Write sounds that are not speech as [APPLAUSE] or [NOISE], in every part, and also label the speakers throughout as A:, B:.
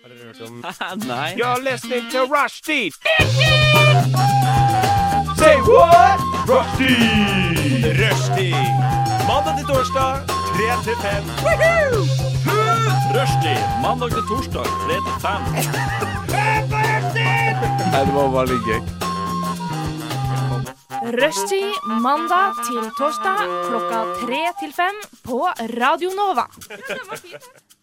A: hørt om
B: Nei.
C: You're listening to Rushdie. Say what? Rushdie. Rushdie. Mandag til torsdag, 3 til 5.
A: Rushdie mandag til torsdag 3 til 5.
B: Nei, det var bare litt gøy.
D: Rushtid mandag til torsdag klokka tre til fem på Radio Nova.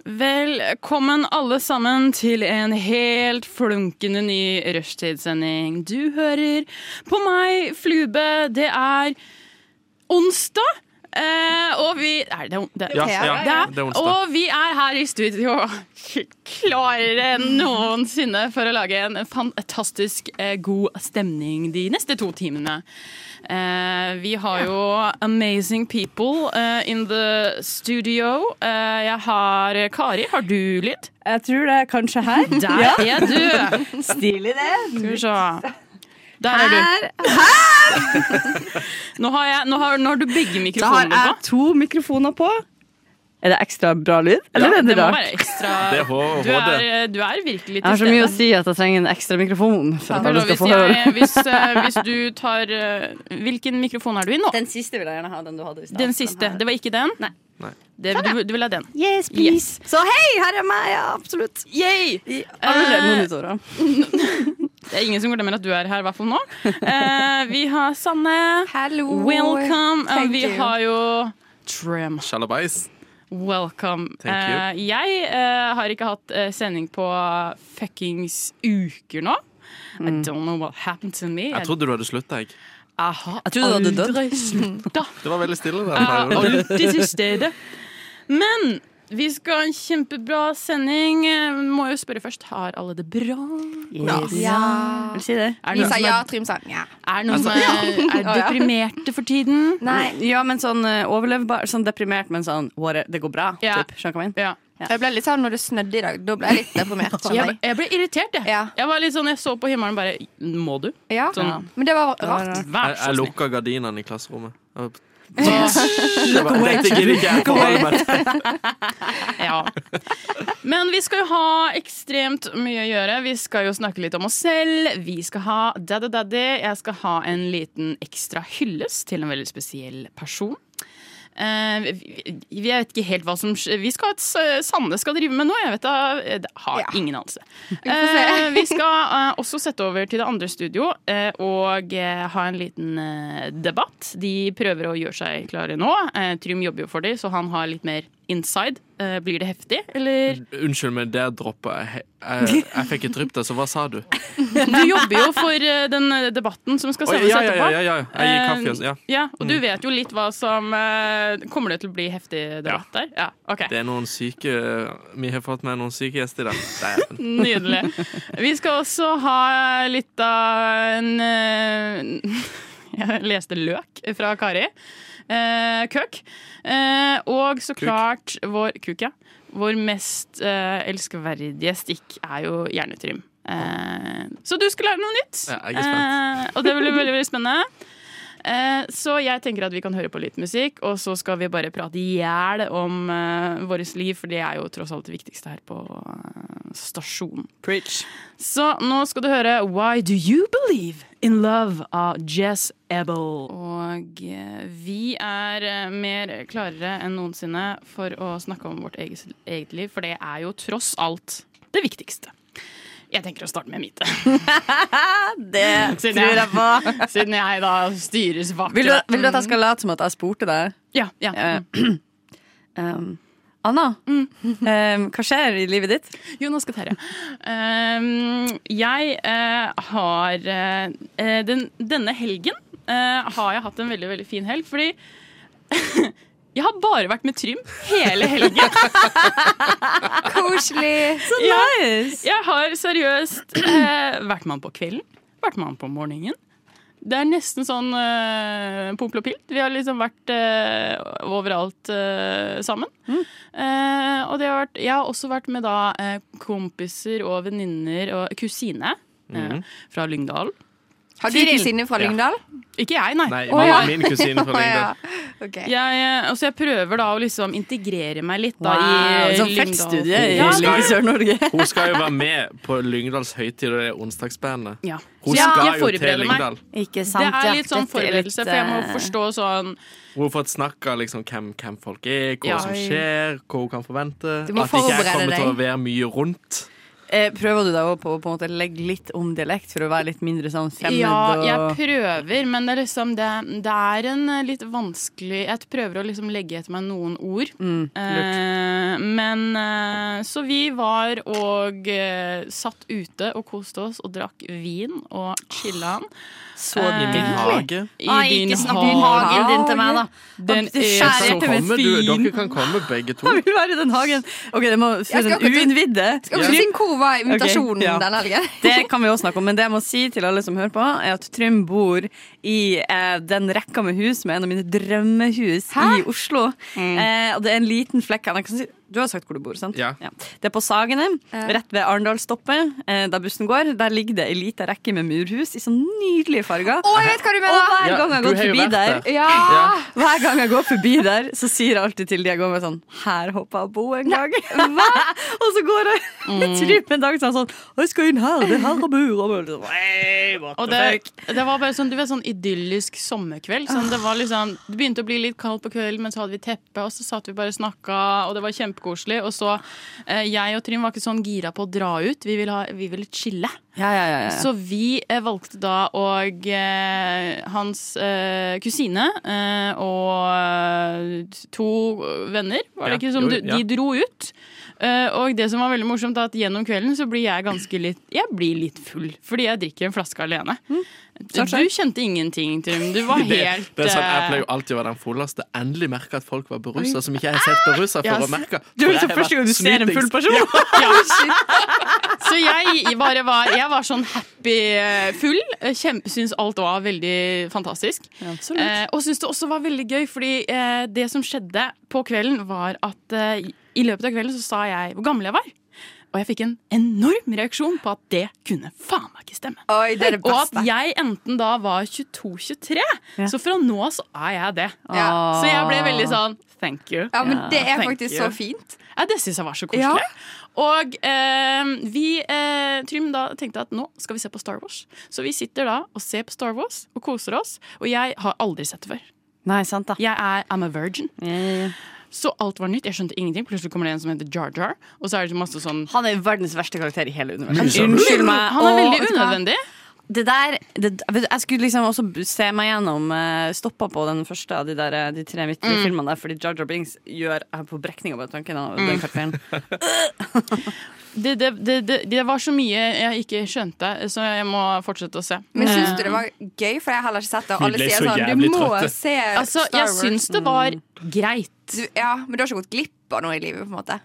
E: Velkommen alle sammen til en helt flunkende ny rushtidssending. Du hører på meg, Flube. Det er onsdag. Eh, og vi Er det on- det?
B: Ja,
E: det,
B: ja,
E: er,
B: det er onsdag.
E: Og vi er her i studio klarere enn noensinne for å lage en fantastisk eh, god stemning de neste to timene. Eh, vi har jo amazing people eh, in the studio. Eh, jeg har Kari, har du lyd?
F: Jeg tror det er kanskje [LAUGHS] her.
E: Der er du!
F: Stilig, det.
E: Skal vi se. Der er du. Nå har, jeg, nå har, nå har du begge
F: Da har
E: mikrofonene
F: jeg
E: på.
F: to mikrofoner på. Er det ekstra bra lyd? Eller er det,
E: Det må
F: rart?
E: være ekstra
B: Det er H-
E: Du er, eh,
B: HD.
E: du er virkelig
F: Jeg har så mye å si at jeg trenger en ekstra mikrofon. For at
E: Hallo,
F: alle skal
E: hvis,
F: få høre.
E: jeg, hvis, eh, hvis du tar eh, Hvilken mikrofon er du i nå?
G: Den siste vil jeg gjerne ha. Den du hadde i stad.
E: Den siste. Det var ikke den?
G: Nei.
E: Det,
F: Sånn,
E: du, du vil ha den.
F: Yes,
E: please.
G: Så hei, her er meg! Ja, absolutt.
E: Yay!
F: I alle
E: Eh,
F: monitorer.
E: Det er ingen som glemmer at du er her, i hvert fall nå. Eh, vi har Sanne.
G: Hallo.
E: Welcome. Eh,
G: Thank
E: vi
G: you.
E: har jo Trim.
B: Sjalabais.
E: Welcome.
B: Thank you.
E: Eh, jeg eh, har ikke hatt eh, sending på fuckings uker nå. I
G: Mm.
E: don't know what happened to me.
B: Jeg trodde du hadde slutta, jeg.
E: Jeg har
G: Jeg trodde du hadde dødd.
E: aldri slutta.
B: [LAUGHS] Det var veldig stille der.
E: Jeg er
B: Bare-
E: alltid til stede. Men vi skal ha en kjempebra sending. Eh, Må jo spørre først, har alle det bra?
G: Ja.
F: Vil du si det?
E: Er det
G: Vi
E: noen
G: sa
E: som
G: ja, Altså,
E: er,
G: Trym sa ja.
E: er, noen som
G: [LAUGHS]
E: er, er deprimerte for tiden?
G: Nei.
F: Ja, men sånn eh, overlevbar, sånn deprimert, men sånn våre, det går bra.
E: Ja.
F: Typ. Skjønner du hva jeg mener?
E: Ja.
G: Jeg ble litt sånn når det snødde i dag. Da ble jeg litt deprimert.
E: Jeg,
G: skjønner
E: ble-
G: jeg.
E: jeg ble irritert, jeg.
G: Ja.
E: Jeg var litt sånn, jeg så på himmelen bare Må du?
G: Ja.
E: Sånn.
G: Men det var
F: var
G: rart.
F: rart.
E: Vær
B: Jeg,
E: så
B: jeg
E: snill.
B: lukka gardinene i klasserommet. Jeg var-
E: Så-
B: Det var- Dette gidder ikke jeg forholde meg til.
E: [LAUGHS] Ja. Men vi skal jo ha ekstremt mye å gjøre. Vi skal jo snakke litt om oss selv. Vi skal ha Daddy Daddy. Jeg skal ha en liten ekstra hyllest til en veldig spesiell person. Eh, vi- vi- jeg vet ikke helt hva som skj- Vi skal ha et s- Sanne skal drive med nå. Jeg vet da, jeg har
G: Ja.
E: ingen anelse.
G: Vi får se.
E: Eh, vi skal eh, også sette over til det andre studio eh, og eh, ha en liten eh, debatt. De prøver å gjøre seg klare nå. Eh, Trym jobber jo for dem, så han har litt mer inside. Eh, blir det heftig,
B: [LAUGHS]
E: eller?
B: Unnskyld, men der droppa jeg. jeg. Jeg fikk et drypp der, så hva sa du?
E: Du jobber jo for eh, den eh, debatten som skal
B: Oi,
E: sendes
B: ja, ja, ja,
E: etterpå. Eh,
B: ja, ja. Jeg gir kaffe. også. Ja. Mm.
E: Ja, og du vet jo litt hva som eh, Kommer det til å bli heftig debatt der? Ja, ok.
B: Det er noen syke Vi har fått med noen syke gjester i dag.
E: [LAUGHS]
B: Dæven.
E: [LAUGHS] Nydelig. Vi skal også ha litt av en eh, [LAUGHS] Jeg leste løk fra Kari. Eh, køk. Eh, og så
B: Kuk.
E: klart vår Kuk, ja. Vår mest eh, elskverdige stikk er jo hjernetrym. Eh, så du skal lære noe nytt.
B: Ja, jeg er spent.
E: Eh, og det blir veldig, veldig spennende. Eh, så jeg tenker at vi kan høre på litt musikk, og så skal vi bare prate i hjel om eh, vårt liv, for det er jo tross alt det viktigste her på eh, stasjonen.
F: Preach.
E: Så nå skal du høre Why Do You Believe In Love av Jess Ebel. Og eh, vi er eh, mer klarere enn noensinne for å snakke om vårt eget, eget liv, for det er jo tross alt det viktigste. Jeg tenker å starte med mitt, [LAUGHS]
F: Det
E: tror
F: tror jeg på.
E: siden jeg da styres bak
F: Vil du, vil du at jeg skal late som at jeg spurte deg?
E: Ja, ja. Mm.
F: Eh, um, Anna, um, hva skjer i livet ditt?
E: Jonas og Terje. Um, jeg eh, har eh, den, Denne helgen eh, har jeg hatt en veldig, veldig fin helg, fordi [LAUGHS] jeg har bare vært med Trym hele helgen.
G: [LAUGHS] Koselig.
F: Nice!
E: Jeg har seriøst eh, vært med han på kvelden, vært med han på morgenen. Det er nesten sånn uh, popel og pilt. Vi har liksom vært eh, overalt eh, sammen. Eh, og det har vært, jeg har også vært med da eh, kompiser og venninner og kusine eh, fra Lyngdal.
G: Har du
E: Tiril.
G: kusine fra Lyngdal?
E: Ikke jeg, nei.
B: Nei,
G: Å,
B: mamma
G: ja.
B: er min kusine fra
G: Å, ja.
B: Lyngdal.
G: Ok.
E: Jeg, eh, altså jeg prøver da å liksom integrere meg litt da i
F: Sånn
E: Lyngdal.
F: feltstudie i
E: Ja,
F: lille Sør-Norge.
B: Hun skal jo være med på Lyngdals høytid og det onsdagsbandet.
E: Ja.
B: Hun
E: Så jeg-
B: skal
E: jeg
B: jo til
E: forbereder meg.
B: Lyngdal.
F: Ikke sant?
E: Det er
F: ja.
E: litt sånn
F: Dette er litt,
E: forberedelse, for jeg må
F: eh,
E: forstå sånn
B: Hun har fått snakka liksom, hvem, hvem folk er, hva
E: Ja.
B: som skjer, hva hun kan forvente.
G: Du må
B: at ikke jeg
G: forberede
B: kommer til å
G: deg.
B: være mye rundt.
F: eh, Prøver du deg også på å på en måte legge litt om dialekt for å være litt mindre sånn fremmed?
E: Ja, jeg
F: og...
E: prøver, men det er liksom det, det er en eh, litt vanskelig Jeg prøver å liksom legge etter meg noen ord.
F: Mm,
E: Eh, men eh, Så vi var og eh, satt ute og koste oss og drakk vin og chilla'n.
F: Så
E: Eh,
B: I min hage.
E: I din
F: hagen din til meg, da.
E: Den
F: Og
E: er
B: Dere
F: skjærer
B: kan
F: til
B: komme,
F: med
B: du,
F: fin.
B: dere kan komme begge to.
F: [LAUGHS] Jeg vil være i den hagen. Ok, det må
G: skal
F: for en
G: akkurat-
F: uinnvidde.
G: Skal vi si hvor var invitasjonen
F: Ok, ja.
G: denne helgen?
F: Det kan vi også snakke om, men det jeg må si til alle som hører på, er at Trym bor i eh, den rekka med hus som er en av mine drømmehus i Oslo. Eh, og det er en liten flekk jeg kan si, Du har sagt hvor du bor, sant?
B: Ja.
F: Det er på Sagene,
G: Ja.
F: rett ved Arendalsstoppet, eh, der bussen går. Der ligger det ei lita rekke med murhus i sånn nydelige farger.
G: Å, jeg vet hva du
F: Og
G: mener!
F: hver
B: Ja,
F: gang jeg har
B: du
F: gått
B: har jo
F: forbi
B: vært
F: der,
B: der.
G: Ja!
B: Ja.
F: hver gang jeg går forbi der, så sier jeg alltid til de jeg går med sånn Her håper jeg å bo en gang. [LAUGHS] og så går jeg mm. tryp en dag sånn sånn Jeg skal inn her, det er her jeg bor. Og jeg blir sånn, «Hey, what
E: Og
F: the
E: det,
F: fuck?»
E: det var bare sånn, du vet, sånn idyllisk sommerkveld. Sånn, det, var liksom, det begynte å bli litt kaldt på kvelden, men så hadde vi teppe, og så satt vi bare og snakka, og det var kjempekoselig. Og så, eh, jeg og Trym var ikke sånn gira på å dra ut, vi ville, ha, vi ville chille.
F: Ja, ja, ja, ja.
E: Så vi eh, valgte da og eh, hans eh, kusine eh, og eh, to venner, var
B: Ja,
E: det ikke som
B: jo,
E: du,
B: ja.
E: de dro ut. Eh, og det som var veldig morsomt, er at gjennom kvelden så blir jeg ganske litt Jeg blir litt full, fordi jeg drikker en flaske alene. Du,
F: klart, klart.
E: du kjente ingenting, Trym. Du var
B: [LAUGHS] Det,
E: helt
B: det er sånn, jeg
E: eh, [LAUGHS]
B: pleier jo alltid å være den fulleste. Endelig merka at folk var berusa, som ikke jeg har sett berusa for
E: Ja,
B: å merke.
F: Du er
B: For jeg
F: liksom
B: har
F: første gang du
B: vært
F: ser en full
B: snytingst.
F: person.
E: Så jeg bare var Jeg var sånn happy eh, full. eh, Kjempe, syns alt var veldig fantastisk. Eh, og syns det også var veldig gøy, fordi eh, det som skjedde på kvelden, var at eh, i løpet av kvelden så sa jeg hvor gammel jeg var. Og jeg fikk en enorm reaksjon på at det kunne faen meg ikke stemme.
G: Oi, det er det
E: Og at
G: beste.
E: jeg enten da var 22-23, så fra nå av så er jeg det.
G: Ja.
E: Så jeg ble veldig sånn thank you.
G: Ja, men det er
E: thank
G: faktisk
E: you.
G: så fint.
E: Ja, det syns jeg var så
G: Ja.
E: koselig. Og eh, vi, eh, Trym, da tenkte at nå skal vi se på Star Wars. Så vi sitter da og ser på Star Wars og koser oss. Og jeg har aldri sett det før.
F: Nei, sant da.
E: Jeg er I'm a virgin. Så alt var nytt. Jeg skjønte ingenting. Plutselig kommer det en som heter Jar Jar. Og så er det masse sånn
F: Han er verdens verste karakter i hele universet.
B: Musa.
F: Unnskyld meg.
E: Han er
F: og-
E: veldig unødvendig.
F: Det der det, vet du, Jeg skulle liksom også b- se meg gjennom eh, Stoppa på den første av de, der, eh, de tre midtre filmene der, fordi Jar Jar Bings gjør Jeg er på brekninga på tanken av den karakteren.
E: Det, det, det, det, det var så mye jeg ikke skjønte, så jeg må fortsette å se.
G: Men syns du det var gøy? For jeg har heller ikke sett det. Og alle
B: Vi ble
G: sier
B: så
G: sånn,
B: jævlig
G: du må
B: trøtte.
G: se
E: Altså,
G: Star
E: jeg
G: Wars. Mm.
E: syns det var greit.
G: Du, ja, men du har ikke gått glipp av noe i livet, på en måte?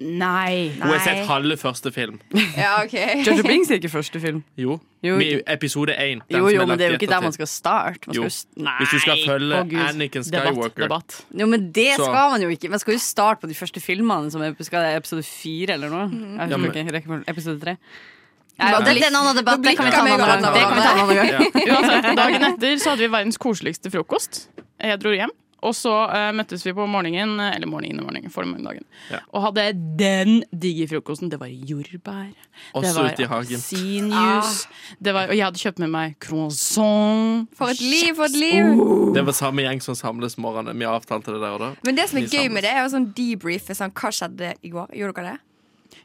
E: Nei.
B: Hun har sett halve første film.
G: Ja, ok. [LAUGHS]
F: Jar Jar Bings er ikke første film.
B: Jo.
F: [LAUGHS] Jo.
B: Vi- Episode én. den
F: Jo,
B: som
F: jo,
B: er
F: men
B: lagt
F: det er
B: i
F: jo ikke der
B: ettertid.
F: man skal starte. Man skal
B: Jo.
F: jo. s- Nei.
B: Hvis du skal følge
E: Å, Gud.
B: Anakin
E: Debatt.
B: Skywalker.
E: debatt.
F: Jo, men det
B: Så-
F: skal man jo ikke. Man skal jo starte på de første filmene, som er skal det er episode fire eller noe. Jeg
B: Ja,
F: husker
B: men-
F: ikke. rekkefølgen. Episode tre.
G: Nei,
F: det, det er Mhm. en annen debatt. Det kan vi ta en annen gang. Det kan vi ta en annen [LAUGHS] gang.
B: Ja.
E: Uansett, dagen etter så hadde vi verdens koseligste frokost. Jeg dro hjem. Og så eh, møttes vi på morgenen, eller morgenen og morgenen, formiddagen.
B: Ja.
E: Og hadde den digge frokosten. Det var jordbær. det
B: Også
E: var
B: ute i hagen.
E: appelsinjuice.
F: Ah.
E: det var- Og jeg hadde kjøpt med meg croissant.
G: For et liv, for et liv!
B: Det var samme gjeng som samles morgenen. Vi avtalte det der og da.
G: Men det som er
B: Vi
G: gøy
B: samles.
G: med det, er jo sånn debrief. Sånn, hva skjedde i går? Gjorde dere det?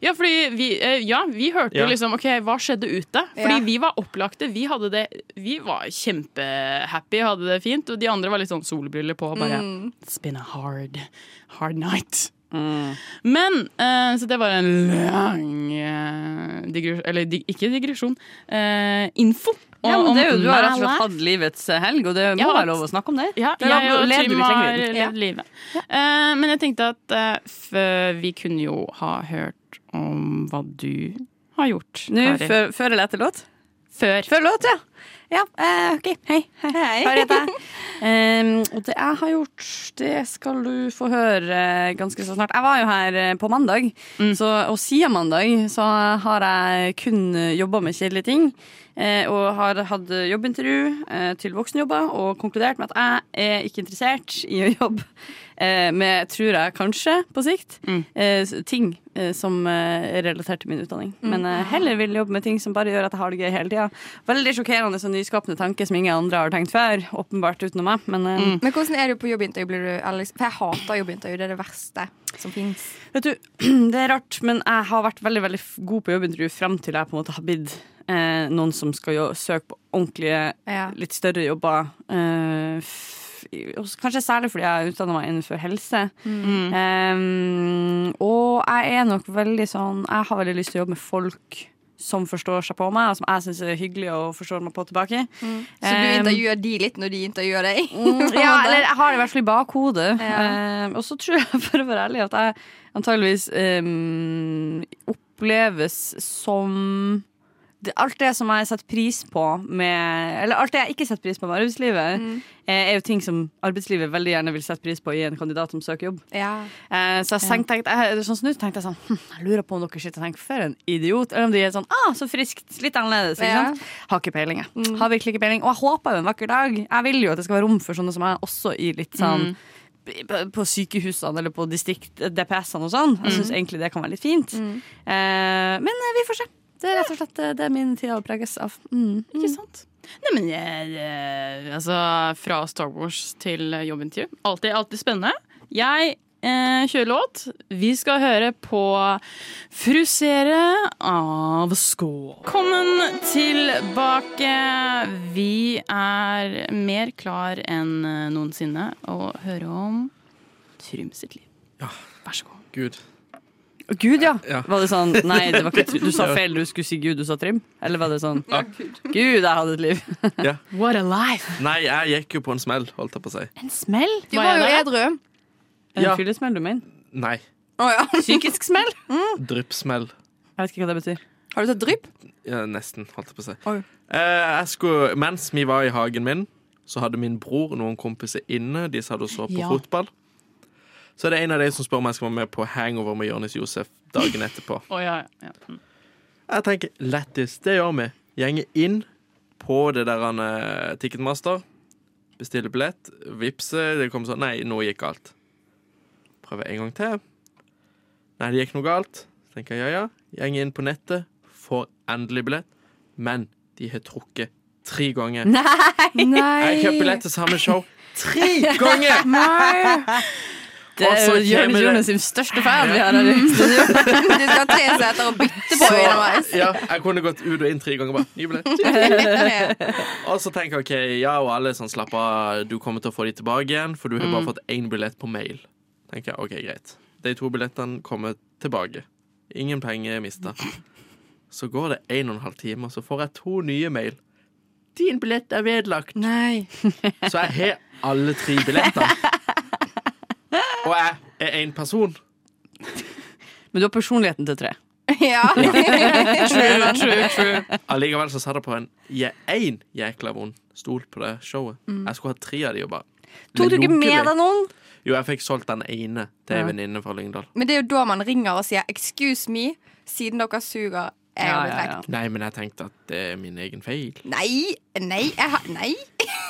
E: Ja, fordi vi, eh, ja, vi hørte jo
B: Ja.
E: liksom OK, hva skjedde ute? Fordi
G: Ja.
E: vi var opplagte. Vi, hadde det, vi var kjempehappy, hadde det fint. Og de andre var litt sånn solbriller på. Bare
F: Mm.
E: It's been a hard, hard night. Men eh, Så det var en lang eh, digresjon Eller dig, ikke digresjon. eh, info.
F: Ja,
E: om-
F: men det er jo,
E: om
F: du har rett
E: my
F: og slett
E: life.
F: hatt livets helg, og det må
E: Ja,
F: være
E: at-
F: lov å snakke om det.
E: Ja,
F: Det er
E: jeg
F: lov å
E: og
F: leve
E: Trym
F: litt lenger.
E: har levd
G: Ja.
E: livet. Eh, men jeg tenkte at eh, f- vi kunne jo ha hørt om hva du har gjort.
F: Nå,
E: Kari.
F: før, før eller etter låt?
E: Før.
F: Før låt, ja. Ja, eh, ok. Hei. Hei. Hva heter jeg? Em, og det jeg har gjort, det skal du få høre eh, ganske så snart. Jeg var jo her eh, på mandag, så, og siden mandag så har jeg kun jobba med kjedelige ting. eh, og har hatt jobbintervju eh, til voksenjobber og konkludert med at jeg er ikke interessert i å jobbe eh, med, tror jeg kanskje på sikt, eh, s- ting eh, som eh, er relatert til min utdanning. Men eh, heller vil jobbe med ting som bare gjør at jeg har det gøy hele tida. Veldig sjokkerende og nyskapende tanke som ingen andre har tenkt før. Åpenbart utenom meg. Men eh,
G: Men hvordan er du på jobbintervju? Blir du, eller, for jeg hater jobbintervju. Det er det verste som fins.
F: Vet du, [CLEARS THROAT] det er rart, men jeg har vært veldig, veldig f- god på jobbintervju frem til jeg på en måte har blitt eh, noen som skal jo, søke på ordentlige,
G: Ja.
F: litt større jobber. Eh, f, og s- kanskje særlig fordi jeg utdanner meg innenfor helse.
E: Mm.
G: Mm.
F: Eh, og jeg er nok veldig sånn Jeg har veldig lyst til å jobbe med folk som forstår seg på meg, og som jeg syns er hyggelig og forstår meg på tilbake.
G: Mm. Så du
F: Eh,
G: intervjuer de litt når de intervjuer deg?
F: Mm, ja, eller jeg har det i hvert fall i bakhodet.
G: Ja.
F: Eh, og så tror jeg, [LAUGHS] for å være ærlig, at jeg antageligvis eh, oppleves som det, Alt det som jeg setter pris på med Eller alt det jeg ikke setter pris på med arbeidslivet, eh, er jo ting som arbeidslivet veldig gjerne vil sette pris på i en kandidat som søker jobb.
G: Ja.
F: Eh, så jeg senk- tenkte, jeg, sånn som nå tenkte jeg sånn hm, Jeg lurer på om dere sitter og tenker for en idiot. Eller om de er sånn ah, så friskt. Litt annerledes. Ikke
G: Ja.
F: sant? Har ikke peiling, jeg. Har virkelig ikke peiling. Og jeg håper jo en vakker dag. Jeg vil jo at det skal være rom for sånne som meg, også i litt sånn På på sykehusene eller på distrikt DPS-ene og sånn. Jeg syns egentlig det kan være litt fint. Eh, men eh, vi får se. Det er rett og slett eh, det min tid har preges av. Mm. Eh,
E: Ikke sant? Nei, men jeg, jeg, altså, Fra Star Wars til jobbintervju. Alltid, alltid spennende. Jeg eh, kjører låt. Vi skal høre på 'Frusere' av Skå. Velkommen tilbake. Vi er mer klar enn noensinne å høre om Trym sitt liv. Vær så god.
B: Gud.
F: Å, Gud, ja.
B: Ja.
F: Var det sånn Nei, det var ikke, tr- du sa feil. Du skulle si Gud, du sa Trym. Eller var det sånn Gud, jeg hadde et liv.
E: What a life!
B: Nei, jeg gikk jo på en smell, holdt jeg på å si.
F: En smell?
G: Du var jo edru.
F: En
B: Ja.
F: fyllesmell, du mener?
B: Nei.
G: Å ja.
F: Psykisk smell?
B: Dryppsmell.
F: Jeg vet ikke hva det betyr.
G: Har du tatt drypp?
B: Ja, nesten, holdt jeg på å si.
G: Oi.
B: Eh, jeg skulle, mens vi var i hagen min, så hadde min bror og noen kompiser inne. De satt og så på
E: Ja.
B: fotball. Så er det en av de som spør om jeg skal være med på hangover med Jonis Josef dagen etterpå.
E: Å, ja, ja. ja.
B: Jeg tenker, lettis, det gjør vi. Gjenger inn på det der han, eh, Ticketmaster. Bestiller billett, vippse, det kommer sånn Nei, nå gikk galt. Prøver en gang til. Nei, det gikk noe galt. Så tenker jeg ja, ja. Gjenger inn på nettet, får endelig billett. Men de har trukket tre ganger. Jeg kjøper billett til samme
F: [LAUGHS]
B: show tre ganger!
F: Det
B: Og så kommer Altså,
F: er Jonis
B: det-
F: Eh, Jonas sin største fan vi har her i studio.
G: [LAUGHS] Du skal ha tre seter og bytte på
B: Så,
F: [LAUGHS]
G: underveis.
B: ja, jeg kunne gått ut og inn tre ganger bare. Ny billett. Og så tenker jeg, ok, ja, og alle er sånn, slapp av, du kommer til å få de tilbake igjen, for du har bare fått én billett på mail. Tenker jeg, ok, greit. De to billettene kommer tilbake. Ingen penger mista. Så går det en og en halv time, og så får jeg to nye mail. Din billett er vedlagt.
G: Nei.
B: Så jeg har alle tre billettene. Og jeg er én person.
F: Men du har personligheten til tre.
G: [LAUGHS] Ja.
E: True, true. [LAUGHS]
B: Allikevel så satt jeg på en je- én jækla vond stol på det showet. Jeg skulle ha tre av de og bare
F: Tok du ikke
B: lunker deg.
F: med deg noen?
B: Jo, jeg fikk solgt den ene til en venninne fra Lyngdal.
G: Men det er jo da man ringer og sier 'excuse me', siden dere suger. Jeg har blitt lekt.
B: Nei, men jeg tenkte at det er min egen feil.
G: Nei, nei, jeg har Nei.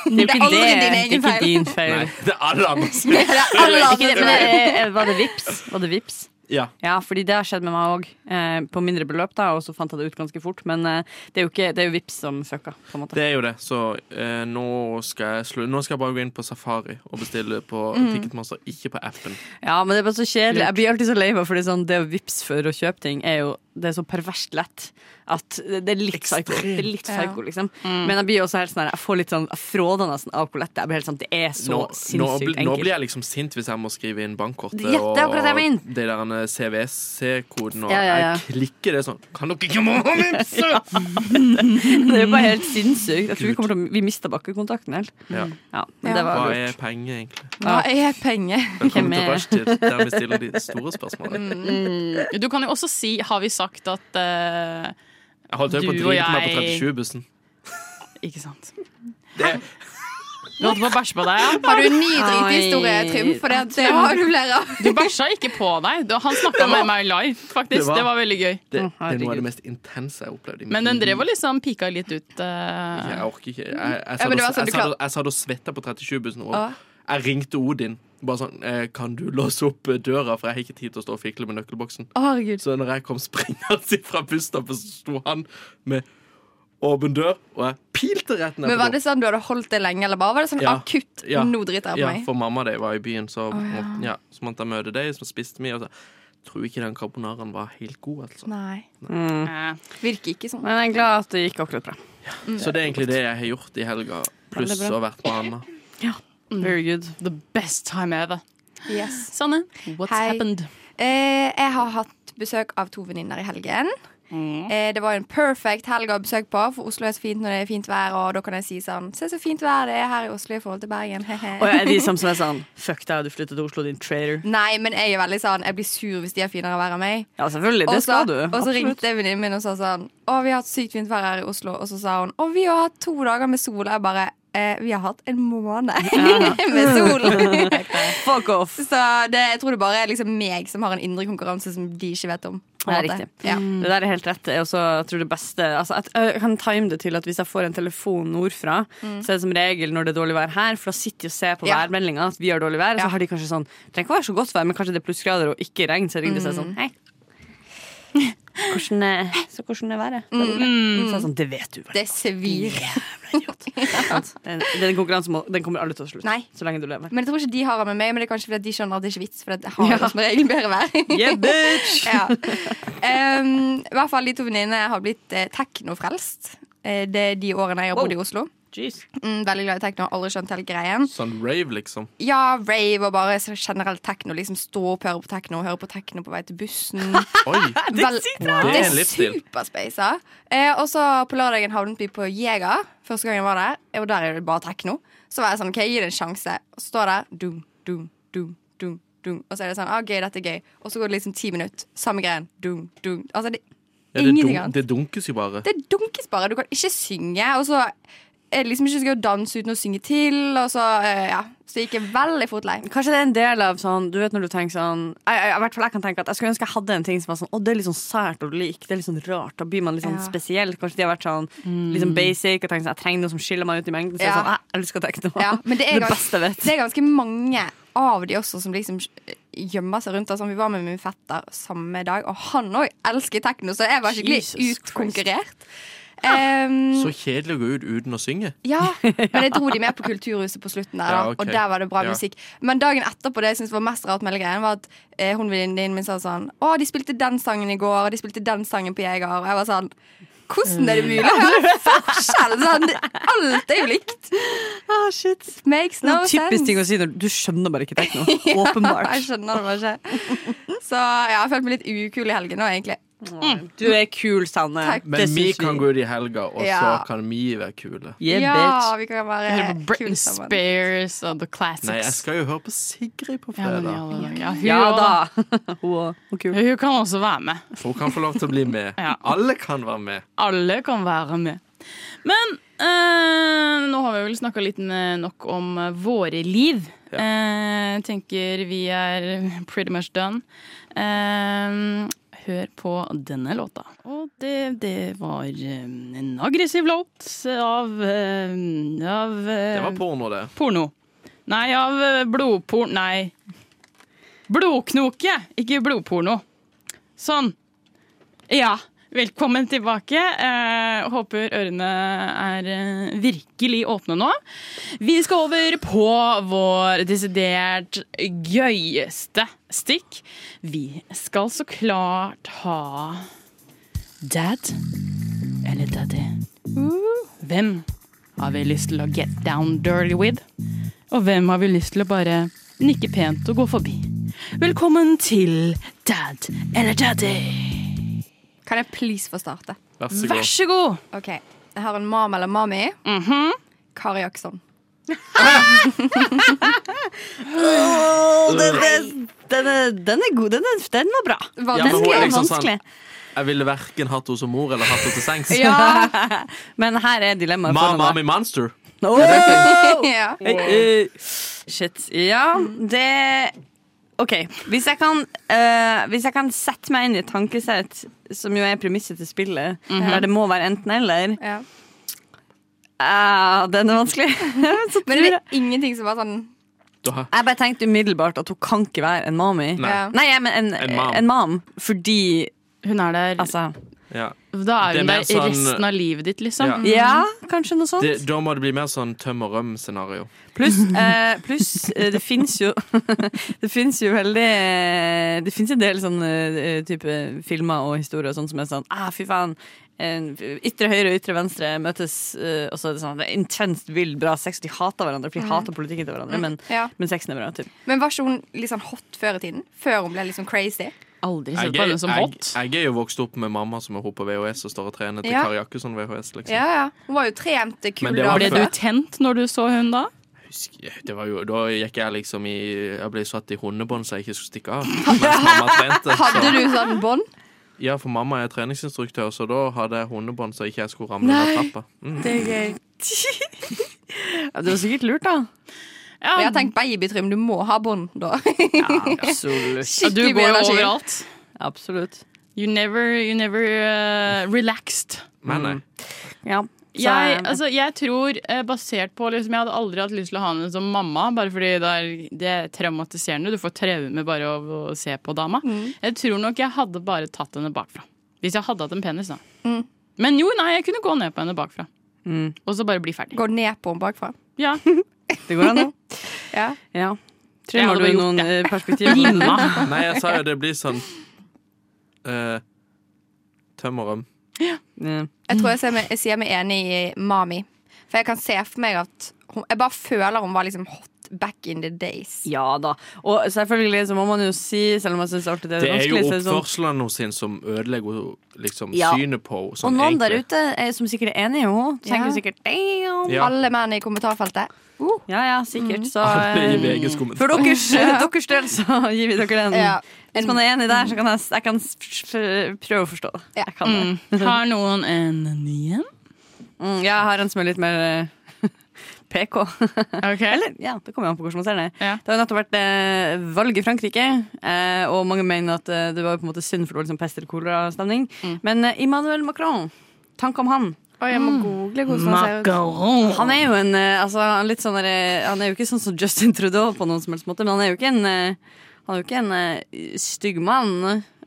F: Det er
G: Det er
F: ikke
G: aldri
F: det.
G: din egen
F: Ikke
G: feil.
F: din feil.
B: Nei, [LAUGHS] det er alle andres feil.
G: Det er
F: [LAUGHS]
G: alle
F: Ikke det,
G: andre
F: men
G: feil.
F: eh, eh, var det vips? Var det vips?
B: Ja.
F: Ja, fordi det har skjedd med meg òg. Eh, på mindre beløp, da, og så fant jeg det ut ganske fort. Men eh, det er jo, ikke, det er jo vips som fucka, på en måte.
B: Det er jo det. Så eh, nå, skal jeg slu nå skal jeg bare gå inn på Safari og bestille på
F: Mm.
B: Ticketmaster, ikke på appen.
F: Ja, men det er bare så kjedelig. Jeg blir alltid så lei meg, for sånn, det å vips for å kjøpe ting er jo det er så perverst lett at det er litt psyko. Det er litt psyko liksom. Men jeg blir også helt sånn her, jeg får litt sånn jeg fråder nesten av hvor lett det er. Jeg blir helt sånn, det er så
B: Nå, nå, bli,
F: sinnssykt
B: nå blir
F: [LAUGHS] enkelt.
B: jeg liksom sint hvis jeg må skrive inn bankkortet
F: Ja, det er akkurat det jeg
B: og
F: mener.
B: de der CWC-koden, og
F: Ja, ja, ja.
B: jeg klikker det sånn Kan dere ikke må vimse?!
F: [LAUGHS] Det er jo bare helt sinnssykt. Jeg tror vi kommer til å Vi mista bakkekontakten helt.
B: Ja.
F: Ja, men
G: Ja.
F: det var
B: Hva
F: lurt.
B: er penger, egentlig?
G: Hva er penger?
B: Velkommen
F: Hvem
B: til
F: er-
B: rushtid, der vi stiller de store spørsmålene.
F: [LAUGHS]
E: Du kan jo også si 'har vi sagt at' eh,
B: Jeg holdt øye på å
E: Du og
B: drite meg på
E: jeg-
B: 37-bussen.
E: Ikke sant.
B: Det-
E: Du holdt på å bæsje på deg, ja?
G: Har du en ny drithistorie,
F: Oi.
G: Trym? For det, det har du flere av.
E: Du bæsja ikke på deg. Du- Han snakka med meg live, faktisk.
B: Det var-
E: Det var veldig gøy.
B: Det, det
F: Å,
B: er noe av
F: herregud.
B: det mest intense jeg har opplevd. i mitt
E: Men den drev
B: liv.
E: og liksom pika litt ut.
B: Jeg
E: eh,
B: orker ikke. Jeg, jeg, satt
G: men det var
B: og-
G: sånn
B: jeg, satt
G: du klar-
B: og- jeg satt og svetta på 37-bussen. Og
G: Ja.
B: jeg ringte Odin. Bare sånn eh, Kan du låse opp eh, døra, for jeg har ikke tid til å stå og fikle med nøkkelboksen. Så når jeg kom springende [LAUGHS] fra busstoppet, så sto han med åpen dør, og jeg pilte rett ned
G: Men
B: på
G: Var det sånn du hadde holdt det lenge, eller bare var det sånn
B: Ja.
G: akutt
B: Ja.
G: Nå driter jeg på
B: Ja,
G: meg.
B: for mamma og de var i byen, så,
G: ja.
B: må- ja. så måtte jeg møte dem, så spiste vi. Og så. Tror ikke den carbonaraen var helt god, altså.
G: Nei.
E: eh,
G: Virker ikke sånn.
F: Men jeg er glad at det gikk akkurat bra.
G: Mm.
B: Så det er egentlig det jeg har gjort i helga, pluss
F: Veldig
B: å
F: bra.
B: ha vært med Anna.
F: Mm. Very good.
E: The best time ever.
G: Yes.
E: Sanne, what's
G: Hei.
E: happened?
G: Eh, jeg har hatt besøk av to venninner i helgen. Eh, det var jo en perfect helg å ha besøk på, for Oslo er så fint når det er fint vær. Og da kan jeg si sånn Se så fint vær det er her i Oslo i forhold til Bergen. hehe».
F: Og jeg er de som som er sånn Fuck deg, du flyttet til Oslo, din traitor.
G: Nei, men jeg er veldig sånn Jeg blir sur hvis de har finere vær enn meg.
F: Ja, selvfølgelig.
G: Og
F: Det
G: så-
F: skal du.
G: Og så
F: Absolutt.
G: ringte venninnen min og sa sånn Å, vi har hatt sykt fint vær her i Oslo. Og så sa hun Å, vi har hatt to dager med sol. Jeg bare eh, Vi har hatt en måned [LAUGHS] med sol.
F: Fuck off.
G: så det, jeg tror det bare er liksom meg som har en indre konkurranse som de ikke vet om. på en
F: Det er
G: måte.
F: riktig.
G: Ja.
F: Det der er helt rett. Jeg, også, tror det beste, altså, at, jeg kan time det til at hvis jeg får en telefon nordfra, så er det som regel når det er dårlig vær her, for da sitter de og ser på
G: Mm. Ja.
F: værmeldinga at vi har dårlig vær, og
G: Ja.
F: så har de kanskje sånn Det trenger ikke å være så godt vær, men kanskje det er plussgrader og ikke regn, så ringer de seg sånn
G: Mm.
F: Hei. Hvordan er, så hvordan er været? Så er det sånn, det vet du vel.
G: Mm. Det svir. [LAUGHS]
F: Den, den konkurransen må- den kommer aldri til å slutte.
G: Nei.
F: Så lenge du lever.
G: Men jeg tror ikke de har det med meg, men det er kanskje fordi at de skjønner at det ikke er vits. For det har jo som regel
F: [LAUGHS]
G: bedre vær.
F: Yeah, bitch!
G: ja. Em, I hvert fall de to venninnene har blitt eh, teknofrelst. Eh, det er de årene jeg har bodd i Oslo.
F: Jeez.
G: Mm, veldig glad i tekno, aldri skjønt hele greien.
B: Sånn rave, liksom.
G: Ja, rave og bare så generelt tekno. Liksom stå opp, høre på tekno, høre på tekno på vei til bussen.
B: Oi!
G: Vel-
B: rart.
G: Det
B: Det er
G: er
B: en livsstil.
G: superspaisa. Eh, og så på lørdagen havnet vi på Jega. Første gang jeg var der, og der er det bare tekno. Så var jeg sånn, ok, gi det en sjanse. Og så står der, dum, dum, dum, dum, dum. Og så er det sånn, ah, gøy, dette er gøy. Og så går det liksom ti minutter. Samme greien. Dum, dum. Altså, det
B: Ja,
G: er
B: det,
G: ingenting
B: dun
G: annet.
B: det dunkes jo bare.
G: Det dunkes bare. Du kan ikke synge. Og så er det liksom ikke så gøy å danse uten å synge til. Og så, eh, ja. Så gikk jeg veldig fort lei.
F: Kanskje det er en del av sånn Du vet når du tenker sånn jeg, jeg, i hvert fall jeg kan tenke at Jeg skulle ønske jeg hadde en ting som var sånn Å, det er litt sånn sært og lik Det er litt sånn rart Da blir man litt sånn
G: Ja.
F: spesiell Kanskje de har vært sånn
B: Mm.
F: Litt sånn basic Og tenkt sånn Jeg trenger noe som skiller meg ut i mengden Så jeg er
G: Ja.
F: sånn Jeg elsker tekno
G: Ja, men det er gans-
F: beste jeg vet
G: Det er ganske mange av de også som liksom gjemmer seg rundt. Altså, vi var med min fetter samme dag, og han òg elsker tekno, så jeg var skikkelig
F: Jesus
G: utkonkurrert. Ehm,
B: Så kjedelig å gå ut uten å synge.
F: [LAUGHS]
G: ja, men jeg dro de med på Kulturhuset på slutten, der, da,
B: Ja, ok.
G: og der var det bra
B: Ja.
G: musikk. Men dagen etterpå det jeg synes var mest rart med hele greien, var at eh, hun venninnen min sa sånn Å, de spilte den sangen i går, og de spilte den sangen på Jeger. Og jeg var sånn Hvordan er det mulig å høre forskjell? Sånn, alt er jo likt.
F: Ah, shit
G: Makes
F: Det er
G: no
F: en
G: sense.
F: typisk ting å si når Du skjønner bare ikke
G: [LAUGHS]
F: tekno
G: Jeg
F: Åpenbart
G: skjønner det bare ikke. Så ja, jeg har følt meg litt ukul i helgen nå, egentlig.
F: Du er kul, Sanne
G: Takk.
B: Men vi kan gå ut i helga, og
G: Ja.
B: så kan vi være kule.
F: Yeah,
G: ja,
F: bitch
G: vi kan være
E: Hører på
G: kule
E: Britney
G: sammen.
E: Spears og
B: Nei,
E: The
B: jeg
E: Classics.
B: skal jo høre på Sigrid på
E: Ja, men i
B: fredag.
E: alle dager. Ja, hun
F: Ja
E: også,
F: da [LAUGHS] Hun og- hun kul
E: Hun kan også være med.
B: For hun kan få lov til å bli med.
E: Ja.
B: Alle kan være med.
E: Alle kan være med. Men eh, nå har vi vel snakka litt med- nok om eh, våre liv. Eh, tenker vi er pretty much done. Eh, hør på denne låta. Og det, det var eh, en aggressiv låt av, eh, av eh,
B: Det var porno, det.
E: porno. Nei, av eh, blodporn... Nei. Blodknoke, ikke blodporno. Sånn. Ja. Velkommen tilbake. Eh, håper ørene er eh, virkelig åpne nå. Vi skal over på vår desidert gøyeste stikk. Vi skal så klart ha Dad eller Daddy. Hvem har vi lyst til å get down dirty with? Og hvem har vi lyst til å bare nikke pent og gå forbi? Velkommen til Dad eller Daddy.
G: Kan jeg please få starte?
B: Vær så
E: Vær
B: god.
E: så god.
G: Ok, Jeg har en mam eller mami. Mhm. Kari Jackson.
F: den, er god, den, var bra
G: Var
B: Ja, men hun
G: vanskelig.
B: er liksom sånn
F: vanskelig.
B: Jeg ville verken hatt henne som mor eller hatt henne til sengs.
F: Ja. Men her er dilemmaet.
B: Ma,
F: foran deg.
B: Mami Monster.
G: [LAUGHS] ja.
F: Eh, Shit. Ja, det OK. Hvis jeg kan, eh, hvis jeg kan sette meg inn i et tankesett, som jo er premisset til spillet,
B: Mhm.
F: der det må være enten-eller
G: Ja.
F: uh, Den er vanskelig. Så
G: Men det er ingenting som var sånn
B: Da-
F: jeg bare tenkte umiddelbart at hun kan ikke være en mami.
B: Nei.
G: ja.
F: Nei, jeg, men en,
B: En
F: en,
B: mam.
F: mam. Fordi
E: Hun er der
F: Altså.
B: Ja.
E: Da er
B: Det er
E: hun
B: mer
E: der
B: sånn-
E: resten av livet ditt, liksom.
B: Ja.
F: Ja, kanskje noe sånt.
B: Mhm. Det, da må det bli mer sånn tøm og røm-scenario.
F: Pluss eh, pluss, eh, det fins jo [LAUGHS] Det fins jo veldig eh, Det fins en del sånne eh, type filmer og historier og sånt som er sånn ah, Fy faen. En ytre høyre og ytre venstre møtes, eh, og så er det sånn det er intenst vill, bra sex. De hater hverandre, for de hater politikken til hverandre, men,
G: ja.
F: men sexen er bra. Typ.
G: Men var ikke hun litt sånn hot før i tiden? Før hun ble litt sånn crazy?
E: Aldri
B: Jeg,
E: sett på
B: er-
E: henne som
B: jeg,
E: hot.
B: jeg er jo vokst opp med mamma som er hun på VHS og står og trener til
G: Ja.
B: Kari Jakkesson VHS. Liksom.
G: Ja, ja. Hun var jo trent kul
B: Men det var
E: Ble du
G: dame
B: før.
G: før.
E: tent når du så hun da?
B: Husker- Det var jo, da gikk jeg liksom i Jeg ble satt i hundebånd så jeg ikke skulle stikke
G: [LAUGHS]
B: av. Mens mamma trente.
G: Hadde
B: Så,
G: du sånn bånd?
B: ja, for mamma er treningsinstruktør, så da hadde jeg hundebånd så ikke jeg skulle ramle ned trappa. Mm.
F: Det er [LAUGHS] gøy. ja, det var sikkert lurt, da.
E: Ja,
G: Jeg har tenkt babytrim, du må ha bånd da. [LAUGHS]
E: ja, du
F: absolutt.
G: skikkelig
E: går
G: mye
E: jo
G: energi.
E: overalt.
F: absolutt.
E: You never, you never eh, relaxed.
B: Men nei.
F: Ja. Så,
E: Jeg,
F: eh,
E: altså, jeg tror, eh, basert på liksom, Jeg hadde aldri hatt lyst til å ha henne som mamma, bare fordi det er, det er traumatiserende. Du får traume bare av å se på dama. Jeg tror nok jeg hadde bare tatt henne bakfra. Hvis jeg hadde hatt en penis, da. Men jo, nei, jeg kunne gå ned på henne bakfra.
G: Mm.
E: Og så bare bli ferdig.
G: Gå ned på henne bakfra.
E: Ja. [LAUGHS]
F: det [LAUGHS] går an, det.
G: Ja.
F: Ja.
E: Jeg
F: Trym, har
E: hadde
F: du
E: bare gjort
F: noen eh, perspektiver?
E: Gina.
B: nei, jeg sa jo det blir sånn eh, Tøm og røm.
F: Ja.
G: Jeg tror jeg, ser meg, jeg sier meg enig i Mami. For jeg kan se for meg at hun, Jeg bare føler hun var liksom hot back in the days.
F: Ja da. Og selvfølgelig så må man jo si, selv om jeg syns alltid det er
B: Det er jo
F: vanskelig så er det sånn-
B: oppførselen hos henne som ødelegger liksom,
F: Ja.
B: synet på henne.
F: Og
B: sånn
F: noen der
B: egentlig.
F: ute er, som sikkert er enig i henne, tenker
G: Ja.
F: sikkert damn.
B: Ja.
G: Alle menn i kommentarfeltet. Uh,
F: Ja ja, sikkert. Så
B: Alle i
F: eh,
B: VGs kommentar.
F: for deres, [LAUGHS] deres del så gir vi dere den.
G: ja.
F: Hvis man er enig der, så kan jeg, jeg kan s- s- prøve å forstå.
G: Ja.
F: Jeg kan det.
E: Har noen en ny en?
F: Mm, jeg har en som er litt mer eh, [LAUGHS] PK.
E: Ok.
F: Eller, ja, det kommer jo an på hvordan man ser det.
E: Ja.
F: Det har jo nettopp vært eh, valg i Frankrike, eh, og mange mener at eh, det var jo på en måte synd for det var liksom pest eller kolera-stemning.
G: Mm.
F: Men eh, Emmanuel Macron, tanke om han.
G: Oi, jeg må google hvordan han ser ut.
E: Macaron.
F: Han er jo en eh, altså, han er litt sånn der, eh, Han er jo ikke sånn som Justin Trudeau på noen som helst måte, men han er jo ikke en, eh, han er jo ikke en eh, stygg mann.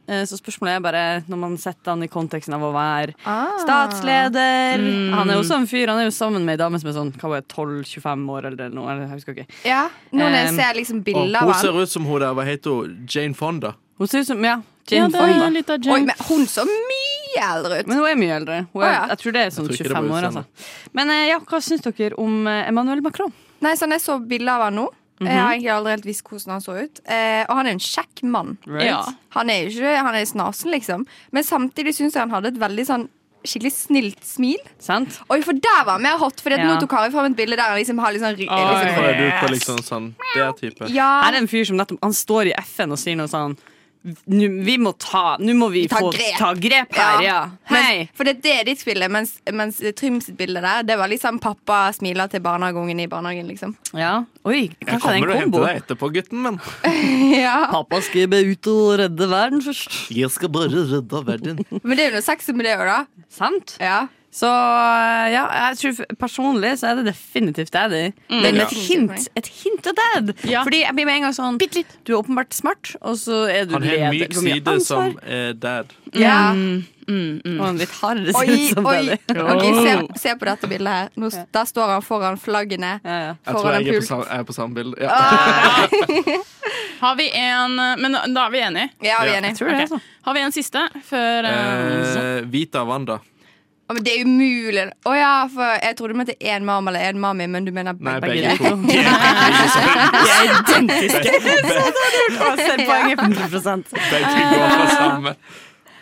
F: Eh, Så spørsmålet er bare, når man setter han i konteksten av å være
G: Ah.
F: statsleder
E: Mm.
F: Han er jo også en fyr, han er jo sammen med ei dame som er sånn hva var det, 12-25 år eller noe. eller Jeg husker ikke.
G: Ja, nå når jeg
F: Um,
G: ser liksom
B: Og
G: bilder
B: hun
G: av han
B: ser ut som hun der, hva heter hun? Jane Fonda.
F: Hun ser ut som ja,
E: Ja,
F: Jane
E: det er
F: Fonda.
E: litt av
G: Oi,
E: Jane
G: men hun så mye eldre ut!
F: Men hun er mye eldre. Hun er,
G: Å, ja.
F: Jeg tror det er sånn
B: Jeg tror ikke det
F: 25
B: var
F: år.
B: utseende.
F: Altså. Men eh, ja, hva syns dere om eh, Emmanuel Macron?
G: Nei, sånn jeg så bilder av han nå. Jeg
F: Mhm.
G: har egentlig aldri helt visst hvordan han så ut. Eh, og han er en kjekk mann.
E: Ja.
G: Han er jo ikke Han er snasen, liksom. Men samtidig syns jeg han hadde et veldig sånn skikkelig snilt smil.
F: Sant?
G: Oi, for der var han mer hot, for
F: Ja.
G: nå tok Kari fram et bilde der han liksom har litt sånn ry-
B: Så
G: liksom,
B: får jeg ut på liksom sånn der type.
F: Her
G: Ja,
F: er en fyr som nettopp Han står i FN og sier noe sånn «Nu- vi må ta Nå må vi
G: Ta
F: få
G: grep.
F: ta grep her, ja. Hei!
G: Mens, for det, det er ditt bilde, mens, mens Trym sitt bilde der, det var liksom pappa smiler til barnehageungen i barnehagen, liksom.
F: Ja. Oi,
B: Jeg
F: kanskje det er
B: kommer og
F: en
B: henter
F: kombo.
B: deg etterpå, gutten min.
G: ja.
F: Pappa skal ut og redde verden først.
B: Jeg skal bare redde verden.
G: Men det er jo noe sexy med det òg, da.
F: Sant?
G: Ja.
F: Så eh, ja, jeg tror f- personlig så er det definitivt daddy. Men med et
G: Ja.
F: hint et hint av dad.
E: Ja.
F: Fordi jeg blir med en gang sånn Du er åpenbart smart, og så er du
B: Han har en
F: leder.
B: myk
F: Du har mye
B: side
F: ansvar,
B: som eh, dad.
G: Ja.
E: Mm,
F: Og en litt hardere
G: Oi,
F: side som
G: oi.
F: daddy. [LAUGHS]
G: Ok, se, se på dette bildet her. Nå, s- der står han foran flaggene.
F: Ja, ja.
B: Jeg tror
G: Foran en
B: jeg er på,
G: pult.
B: sam- jeg er på samme bilde. Ja.
E: Har vi en eh, Men da er vi enige.
G: Ja, vi er
B: Ja.
G: enige.
F: Tror du det,
E: Ok.
F: altså?
E: Har vi en siste før eh,
B: Eh, Vita Wanda.
G: Å, Men det er umulig. Å ja, for jeg trodde du mente én mam eller én mami, men du mener
B: Nei,
G: begge.
B: begge to.
F: [LAUGHS]
E: [LAUGHS]
F: Jeg ser poenget 100
B: [LAUGHS] Begge går for samme.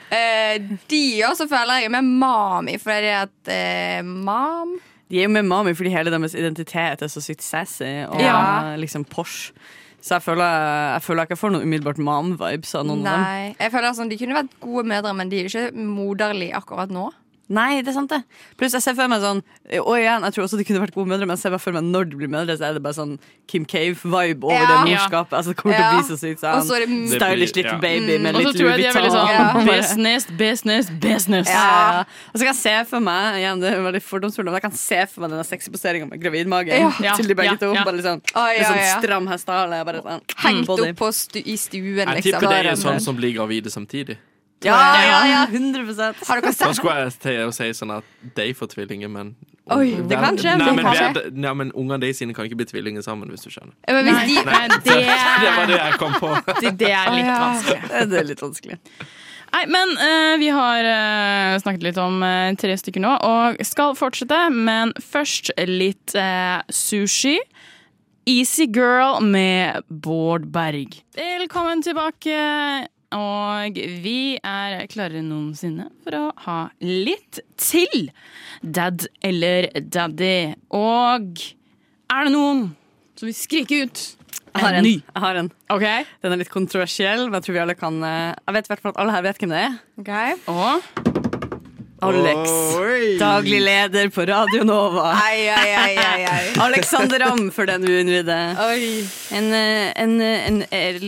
G: Eh, de også føler jeg er mer mami, for det er at eh, mam
F: De er jo med mami fordi hele deres identitet er så sykt sassy og
G: Ja.
F: eh, liksom posh. Så jeg føler, jeg føler ikke jeg får noe umiddelbart mom-vibes av noen av dem.
G: Nei. Jeg føler sånn, De kunne vært gode mødre, men de er jo ikke moderlige akkurat nå.
F: Nei, det er sant det. Pluss jeg ser for meg sånn Og igjen, jeg tror også de kunne vært gode mødre, men jeg ser bare for meg når de blir mødre, så er det bare sånn Kim Cave-vibe over
G: Ja.
F: det morskapet. Altså, det kommer til å
G: Ja.
F: bli så sykt
G: Og så
F: sånn
G: er det
B: Det-
F: stylish
B: blir-
F: little
B: ja.
F: baby med
E: Mm. Og så
F: litt
E: tror jeg de er veldig sånn
G: Ja.
E: business, business, business.
F: Ja. ja. Og så kan jeg se for meg igjen, det er veldig fordomsfullt, men jeg kan se for meg denne sexy poseringen med gravidmage
E: Ja.
F: til de begge
E: Ja,
F: to.
E: ja.
F: Bare litt sånn,
G: Å, ja,
F: litt sånn
G: ja.
F: stram hestehale. bare Sånn,
G: hengt
F: body.
G: opp på stu, i stuen,
B: Jeg
G: liksom.
B: tipper det er sånn som blir gravide samtidig.
F: Ja, ja, ja,
E: Ja.
F: 100
G: Har
B: Da
G: dere sett
B: skulle jeg til å si sånn at de får tvillinger, men
G: Oi, det
B: Vel-
G: kan
B: Nei,
G: skje, det
B: men,
G: kan
B: vel- nei, men ungene de sine kan ikke bli tvillinger sammen, hvis du skjønner.
G: Ja, men hvis de,
E: Nei, det,
B: Det var det jeg kom på.
E: det, det er litt vanskelig.
F: Det er litt vanskelig.
E: Nei, men eh, vi har eh, snakket litt om eh, tre stykker nå, og skal fortsette. Men først litt eh, sushi. Easy Girl med Bård Berg. Velkommen tilbake. Og vi er klarere enn noensinne for å ha litt til dad eller daddy. Og er det noen som vil skrike ut
F: Jeg har en. Jeg har en.
E: OK?
F: Den er litt kontroversiell, men jeg tror vi alle kan eh, Jeg vet i hvert fall at alle her vet hvem det er.
G: Ok.
E: Og
F: Alex.
B: [LAUGHS] Oi.
F: Daglig leder på Radio Nova.
G: Ai, ai, ai, ai, ai.
F: Alexander Ramm, for den uinnvidde.
G: Oi.
F: En, eh, en, eh, en, eh,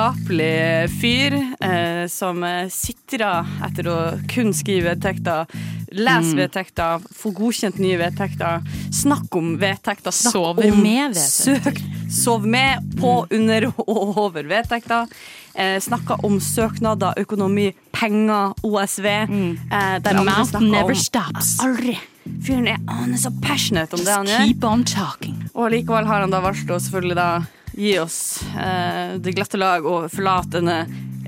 F: lidenskapelig fyr eh, som eh, sitrer etter å kun skrive vedtekter, lese vedtekter, få godkjent nye vedtekter, snakk om vedtekter, snakk
E: Sover
F: om
E: med vedtekter.
F: søk, sov med på, under og over vedtekter. Eh, snakker om søknader, økonomi, penger, OSV. Eh, der andre snakker om-
E: stops.
F: Aldri. Fyren er han er så passionate om det han gjør.
E: Keep on talking.
F: Og likevel har han da valgt å selvfølgelig da gi oss eh, det glatte lag og forlate denne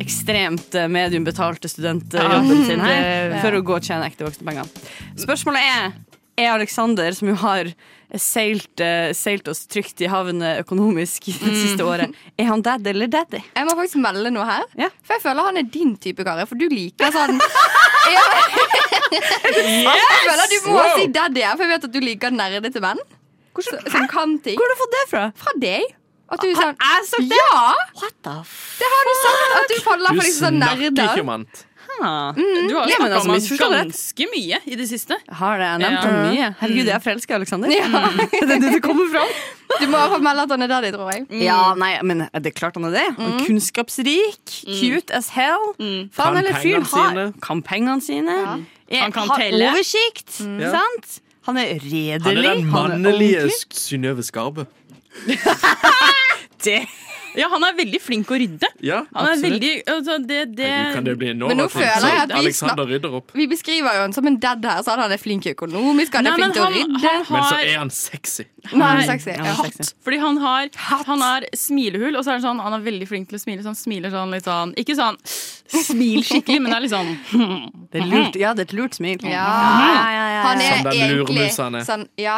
F: ekstremt eh, mediumbetalte
E: Ah,
F: studentjobben sin her [LAUGHS] for å gå og tjene ekte voksenpenger. Spørsmålet er er Alexander, som jo har seilt, eh, seilt oss trygt i havn økonomisk det
E: Mm.
F: siste
E: [LAUGHS]
F: året, er han dad eller daddy?
G: Jeg må faktisk melde noe her.
F: Ja.
G: For jeg føler han er din type, Kari. For du liker sånn ja. Jeg føler du må si daddy her, for jeg vet at du liker nerdete menn. Så, som kan ting.
F: Hvor har du fått det fra?
G: Fra deg. At du er sånn
F: Jeg sa det!
G: Ja!
F: What the
G: Det har du sagt. At du faller
B: Du
G: for liksom sånn
B: snakker
G: nerder.
B: ikke, mann.
F: fuck?
E: Du har jo
F: Ja, men
E: snakket
F: altså,
E: om
F: hvis du forstår
E: han
F: det.
E: ganske mye i det siste.
F: Har det? Jeg nevnte
E: Ja. Mm.
F: han mye. Herregud, jeg er forelska i Alexander.
G: Ja.
F: [LAUGHS] Det er det du kommer fra.
G: Du må i hvert fall melde at han er daddy, tror jeg.
E: Mm.
F: Ja, nei, men det er klart han er det. Han er kunnskapsrik,
E: Mm.
F: cute as hell. Faen,
B: Kan
F: eller fyren
B: pengene
F: har
B: sine.
F: Kan pengene sine. Er-
E: Han kan
F: har
E: telle. Mm.
F: oversikt,
B: Ja.
F: sant? Han
B: Han
F: er
B: er
F: redelig.
B: den mannlige Synnøve Skarbe.
F: ordentlig.
E: Ja, han er veldig flink å rydde.
B: Ja,
E: Han er
B: absolutt.
E: veldig altså, det, det,
F: Eh,
B: Herregud, Kan det bli
G: Men nå
B: enormt?
G: føler jeg at vi
B: Alexander rydder opp.
G: Vi beskriver jo han som en dad her, så han er flink økonomisk, han
E: Nei,
G: er
E: men
G: flink til å
E: han,
B: Men
E: han
G: rydde.
B: så
E: har
B: er han sexy.
G: Nå er han sexy.
F: Ja, han er sexy.
E: hatt. Fordi han har, han har smilehull, og så er han sånn, han er veldig flink til å smile. Så han smiler sånn litt sånn Ikke sånn smil skikkelig, men det er litt sånn
F: Det er lurt. Ja, det er et lurt smil.
G: Ja. Han er
B: Som den
G: egentlig
B: lurmus han er.
G: sånn, ja.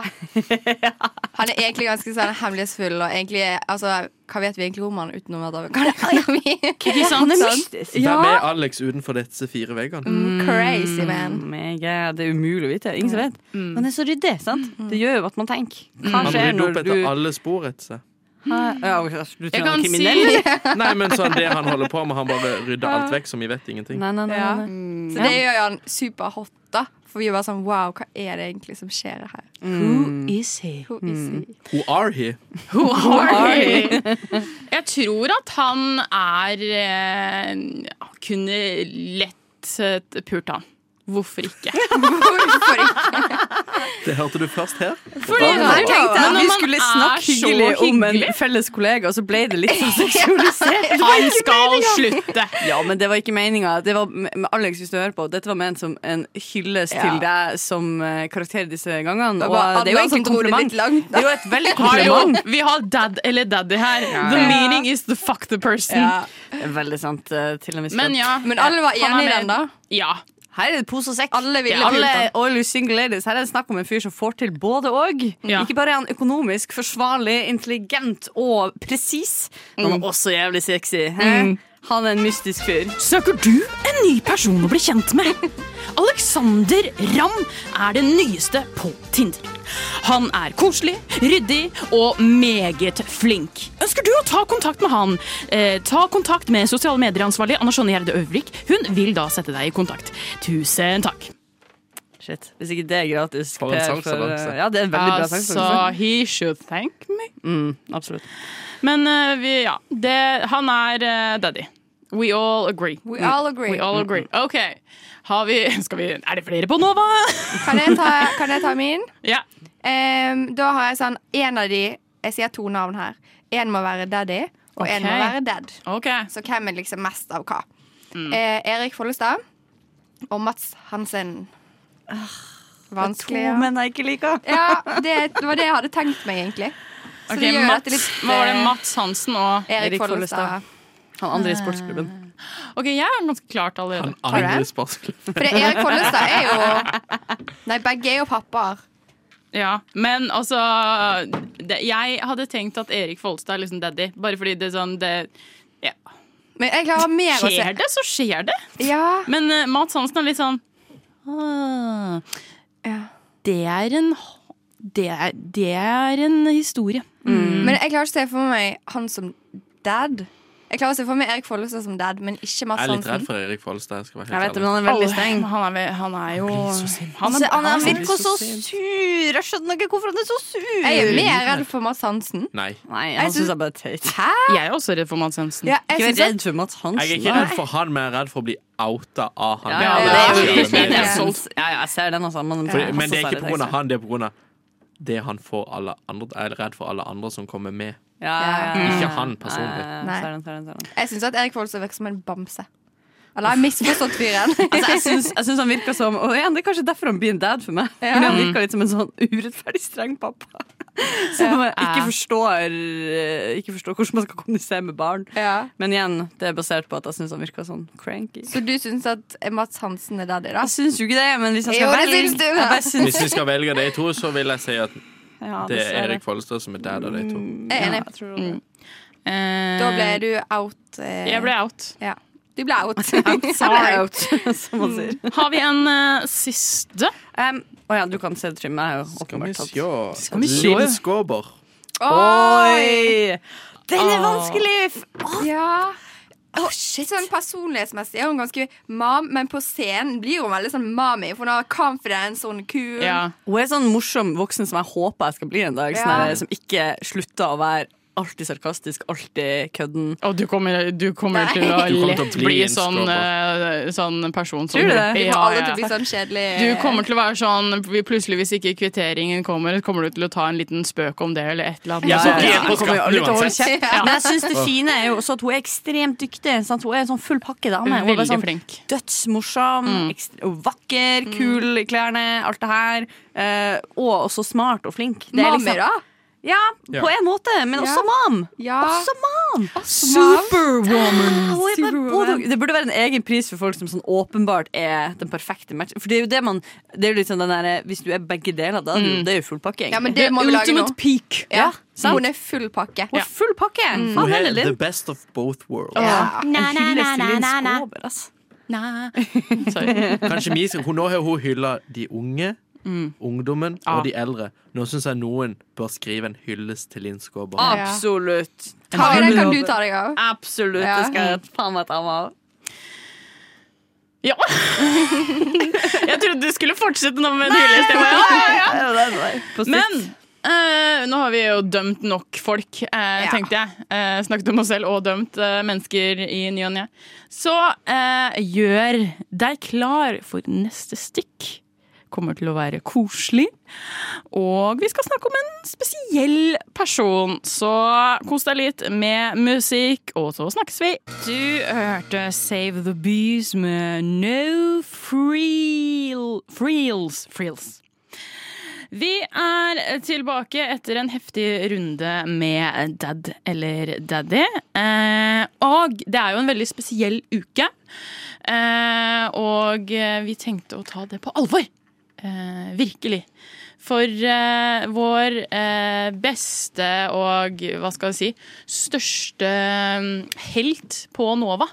G: Han er egentlig ganske sånn hemmelighetsfull og egentlig altså, Hva vet vi egentlig om han utenom at han kan [LAUGHS]
E: Ikke sant?
F: Han er mystisk.
B: Hvem er Alex utenfor disse fire
F: Mm,
B: veggene?
G: Crazy man.
F: Mega, det er umulig å vite.
E: Mm.
F: Ingen som vet. Han er så ryddig, sant? Det gjør jo at man tenker. Hva
B: Han
F: skjer
B: rydder
F: når
B: opp
F: du
B: etter alle spor etter seg.
F: Ja, ok, altså, Du tror
E: Jeg
F: han er
E: kan
F: kriminell?
E: si
B: Nei, men sånn, det han holder på med, han bare rydder alt vekk som vi vet ingenting.
F: Nei, nei, nei,
G: Ja.
F: nei.
G: Så det gjør jo han superhot, da. For vi er bare sånn wow, hva er det egentlig som skjer her?
E: Who is he?
G: Who is he?
B: Who are he?
E: Who are you? Jeg tror at han er eh, ja, Kunne lett eh, pult han. Hvorfor ikke?
G: Hvorfor ikke?
B: Det hørte du først her.
E: Fordi
F: Jeg tenkte
E: Men
F: at
E: når
F: vi
E: man
F: skulle
E: er
F: snakke
E: så
F: hyggelig om en
E: hyggelig-
F: felles kollega, og så ble det litt sånn [LAUGHS] seksualisert.
E: Han skal slutte!
F: Ja, men det var ikke meninga. Det var med Alex, hvis du hører på. Dette var ment som en hyllest til deg som eh, karakter disse gangene.
G: Det
F: Og
G: var
F: eh, det er jo
G: Anna
F: egentlig
G: som
F: en
G: dro det litt
F: kompliment.
G: langt,
F: Det
G: da.
F: er jo et veldig
E: Hallo,
F: kompliment.
E: vi har dad eller daddy her. The meaning is the fuck the person.
F: Det er Veldig sant. eh, Til en viss
E: Men
F: grad.
E: ja.
G: Men alle var
E: han er
G: enige i
E: med.
G: den, da?
E: Ja.
F: Her er det pose og sekk.
G: Alle ville
F: Ja, alle
G: pult
F: all you single ladies. Her er det snakk om en fyr som får til både og.
E: Ja.
F: Ikke bare er han økonomisk forsvarlig, intelligent og presis, men
G: Mm.
F: han er også jævlig sexy. hæ? Han er en mystisk
E: [LAUGHS]
F: fyr.
E: Søker du en ny person å bli kjent med? Alexander Ramm er den nyeste på Tinder. Han er koselig, ryddig og meget flink. Ønsker du å ta kontakt med han? Eh, ta kontakt med sosiale medieransvarlig Anna Sjone Gjerde Øvrik. Hun vil da sette deg i kontakt. Tusen takk.
F: Shit. Hvis ikke det er gratis
B: For en
F: PR
B: salgsavanse.
F: eh, Ja, det er en veldig bra
E: Altså,
F: salgsavanse.
E: he should thank me.
F: Absolutt.
E: Men eh, vi, ja, det, han er eh, daddy. We all agree.
G: We all
E: Mm.
G: agree.
E: We all agree. Ok. Har vi, [LAUGHS] skal vi, er det flere på Nova? [LAUGHS]
G: Kan jeg ta, kan jeg ta min?
E: ja.
G: Ehm, da har jeg sånn En av de Jeg sier to navn her. En må være daddy, og en
E: Ok.
G: må være dad.
E: Ok.
G: Så hvem er liksom mest av hva?
E: Mm.
G: Eh, Erik Follestad og Mats Hansen.
F: To
G: Vanskelig. Ja,
F: menn jeg ikke liker.
G: ja det, det var det jeg hadde tenkt meg, egentlig. Så
E: Ok,
G: det gjør
E: Mats,
G: dette litt,
E: hva var det?
G: eh,
E: Mats Hansen og
G: Erik
F: Erik
G: Follestad. Eh.
F: Han andre i sportsklubben.
E: Ok, jeg er ganske klart allerede.
B: Han andre
G: det?
B: spørsmål.
G: For det Erik Follestad er jo Nei, begge er jo pappaer.
E: Ja, men altså det, Jeg hadde tenkt at Erik Folstad er liksom daddy, bare fordi det er sånn det, ja.
G: Men jeg klarer mer å se.
E: Skjer det, så skjer det.
G: Ja,
E: Men eh, Mats Hansen er litt sånn «Ah,
G: ja.
E: Det er en h- det er, det er en historie.
G: Men jeg klarer ikke å se for meg han som dad. Jeg klarer å se for meg Erik Follestad som dad, men ikke Mats
B: Jeg er litt redd
G: Hansen.
B: for Erik Follestad. Skal jeg
F: sånn Jeg
B: være helt
F: vet det,
B: ærlig.
F: men han er veldig
E: Alle-
F: streng.
E: Han er, ve- han er jo han
F: Se,
E: er,
F: han er-
E: han er,
F: virker så sur! Jeg skjønner ikke hvorfor han er så sur.
G: Jeg er mer redd for Mats Hansen.
B: Nei.
F: Nei,
G: Jeg
F: han
G: synes-
F: syns jeg bare er teit.
G: Hæ?
E: jeg er også redd for Mats Hansen.
G: Ja,
F: Ikke
G: jeg
F: vær
G: synes
F: redd for Mats Hansen.
B: Jeg er ikke
F: da.
B: redd for han, men jeg er redd for å bli outa av han.
F: Ja, ja, det er jo
G: Ja,
F: det
G: ja.
F: er solgt. Ja, ja, jeg ser den, altså. Men,
B: Fordi, men det er ikke pga. han, det er pga. det han får alle andre Jeg er redd for alle andre som kommer med.
F: Ja, ja, ja, ja.
B: Ikke han personlig.
F: Ja,
G: Nei.
F: ja, ser den, ser den, ser den.
G: jeg synes at Erik Follestad virker som en bamse. Eller har jeg misforstått fyren?
F: Altså, jeg syns, jeg syns han virker som Og igjen, det er kanskje derfor han blir en dad for meg. Fordi han virker litt som en sånn urettferdig streng pappa. [LAUGHS] Som ikke forstår eh, Ikke forstår hvordan man skal kommunisere med barn.
G: ja.
F: Men igjen, det er basert på at jeg syns han virker sånn cranky.
G: Så du synes at Mats Hansen er daddy, da?
F: Jeg syns jo ikke det, men hvis jeg
G: Jo,
F: skal
G: det
F: velge
G: syns du,
F: jeg
G: da.
F: bare syns-
B: Hvis vi skal velge de to, så vil jeg si at
F: ja,
B: det er
F: dessverre.
B: Erik Follestad som er dad av de to.
G: Jeg er enig.
F: Ja, jeg tror det.
E: Eh,
G: Da ble du out. eh,
E: Jeg ble out.
G: ja. Du ble out.
F: Sorry.
G: [LAUGHS]
F: [LAUGHS] Som man sier.
G: Mm.
E: Har vi en eh, siste?
F: Um, å ja, du kan se det trim. Jeg er jo åpenbart tatt.
B: sjå?
E: vi sjå?
B: Linn Skåber.
F: Oi! Den er
E: Åh.
F: vanskelig!
G: Ja. Og Sånn Personlighetsmessig er hun ganske mam, men på scenen blir hun veldig sånn mami. For hun har confidence, hun er kul.
E: Ja.
F: Hun er sånn morsom voksen som jeg håper jeg skal bli en dag. Sånn
G: Ja.
F: her, som ikke slutter å være alltid sarkastisk, alltid kødden.
E: Og du kommer, [LAUGHS] du kommer til
B: Du
E: å
B: kommer til å
E: lett
B: bli
E: bli
B: en
E: sånn, eh, sånn person som
F: Tror du det?
G: Vi får
E: Ja,
G: alle
E: ja.
G: til å bli sånn kjedelig.
E: Du kommer til å være sånn vi Plutselig, hvis ikke kvitteringen kommer, kommer du til å ta en liten spøk om det, eller et eller annet.
B: Jeg
F: Ja,
B: får
F: ja,
B: ikke
F: ja.
B: igjen på
E: Kommer
B: skatten
E: jo aldri til å holde
B: uansett.
E: kjeft.
F: Men jeg synes det fine er jo også at hun er ekstremt dyktig. Sant? Hun er en sånn full pakke dame. Hun er bare
E: Veldig
F: sånn
E: flink.
F: dødsmorsom,
G: Mm.
F: ekstre- og vakker, kul i klærne, alt det her. Eh, og også smart og flink. Det er
G: Mami,
F: liksom-
G: da?
F: Ja, på en måte, men også mam.
G: Ja. Ah.
F: Også mam!
E: Superwoman!
F: Hun er bare
G: Superwoman.
F: både- Det burde være en egen pris for folk som sånn åpenbart er den perfekte matchen. For det er jo det man Det er jo litt sånn den derre Hvis du er begge deler, da er du- det er jo full pakke, egentlig.
G: Mm. Ja, men det må vi lage nå.
E: Ultimate peak.
G: Ja,
F: sant.
G: Hun er Mm. full pakke.
F: Og full pakke! Faen,
B: Hun
F: hele
B: er
F: Linn.
B: the best of both worlds.
G: Ja.
E: Na, na, na, na, na, na.
F: altså.
E: Na. Sorry.
B: Kanskje vi skal, hun, Nå har hun hylla de unge, ungdommen og de eldre. Nå syns jeg noen bør skrive en hyllest til Linn Skåber.
F: Ah, Absolutt.
G: Ta i den kan du ta deg av.
F: Absolutt.
G: Ja.
F: Det skal jeg faen meg ta meg av.
E: Ja. Jeg trodde du skulle fortsette nå med en hyllest. Jeg bare, ja, ja,
F: [LAUGHS]
E: ja.
F: På sikt.
E: Men eh, nå har vi jo dømt nok folk, eh,
G: Ja.
E: tenkte jeg. Eh, snakket om oss selv og dømt eh, mennesker i ny og ne. Så eh, gjør deg klar for neste stikk. Kommer til å være koselig. Og vi skal snakke om en spesiell person, så kos deg litt med musikk, og så snakkes vi. Du hørte Save the Bees med No Freel... Freels. Freels. Vi er tilbake etter en heftig runde med dad eller daddy. Eh, og det er jo en veldig spesiell uke. Eh, og eh, vi tenkte å ta det på alvor. Eh, virkelig. For eh, vår eh, beste og hva skal jeg si største mm, helt på Nova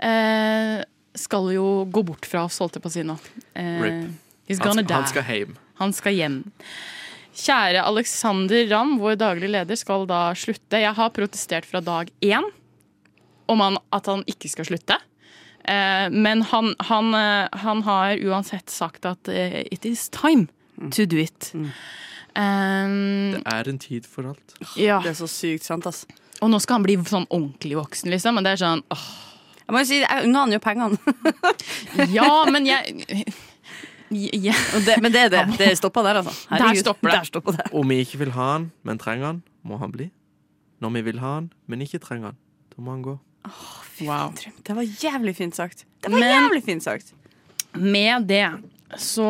E: eh, skal jo gå bort fra oss, holdt jeg på å si nå. Eh,
B: Rip.
E: He's
B: Han,
E: gonna
B: sk- Altså, han
E: die.
B: skal hjem.
E: Han skal hjem. Kjære Alexander Ramm, vår daglig leder, skal da slutte. Jeg har protestert fra dag én om han, at han ikke skal slutte. Eh, men han, han, eh, han har uansett sagt at eh, it is time to do it. Eh,
B: Er en tid for alt.
E: ja.
F: Det er så sykt sant, ass.
E: Og nå skal han bli sånn ordentlig voksen, liksom. Men det er sånn åh,
F: Jeg må jo si, jeg unner han jo pengene.
E: Ja, men jeg [LAUGHS] ja.
F: [LAUGHS] Og det, men det er det. Det stopper der, altså.
E: Der stopper det.
F: Der stopper det.
B: Om vi ikke vil ha han, men trenger han, må han bli. Når vi vil ha han, men ikke trenger han, da må han gå.
E: Wow.
F: Det var jævlig fint sagt. Det var jævlig fint sagt.
E: Med det så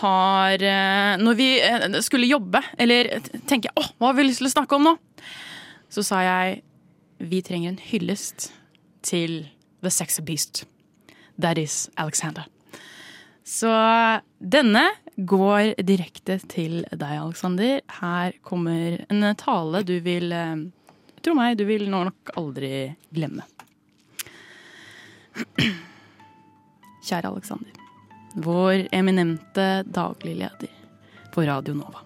E: har eh, Når vi eh, skulle jobbe, eller tenke åh, hva har vi lyst til å snakke om nå? Så sa jeg vi trenger en hyllest til The Sex Beast. That is Alexander. Så denne går direkte til deg, Alexander. Her kommer en tale du vil eh, Tro meg, du vil nå nok aldri glemme. [CLEARS THROAT] Kjære Alexander. vår eminente daglig leder på Radio Nova.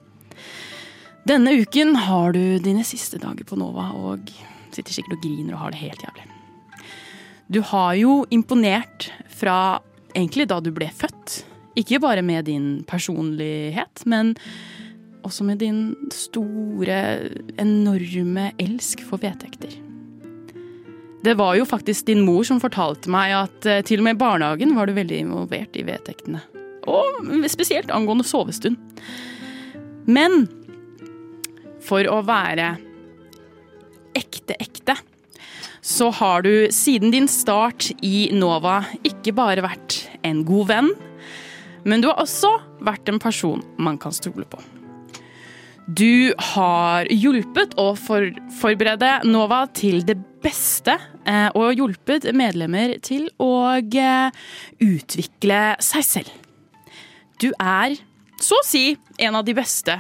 E: Denne uken har du dine siste dager på Nova og sitter sikkert og griner og har det helt jævlig. Du har jo imponert fra egentlig da du ble født. Ikke bare med din personlighet, men også med din store, enorme elsk for vedtekter. Det var jo faktisk din mor som fortalte meg at eh, til og med i barnehagen var du veldig involvert i vedtektene. Og spesielt angående sovestund. Men for å være ekte, ekte, så har du siden din start i Nova ikke bare vært en god venn, men du har også vært en person man kan stole på. Du har hjulpet å for forberede NOVA til det beste, eh, og hjulpet medlemmer til å eh, utvikle seg selv. Du er så å si en av de beste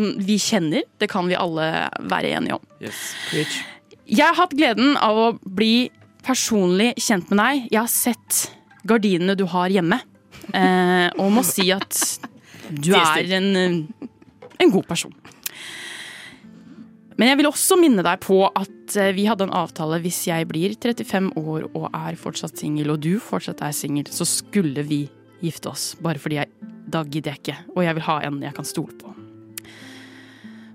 E: mm, vi kjenner. Det kan vi alle være enige om.
B: Yes, preach.
E: Jeg har hatt gleden av å bli personlig kjent med deg. Jeg har sett gardinene du har hjemme, eh, og må si at du er en, eh, en god person. Men jeg vil også minne deg på at eh, vi hadde en avtale hvis jeg blir 35 år og er fortsatt singel, og du fortsatt er singel, så skulle vi gifte oss. Bare fordi jeg, da gidder jeg ikke, og jeg vil ha en jeg kan stole på.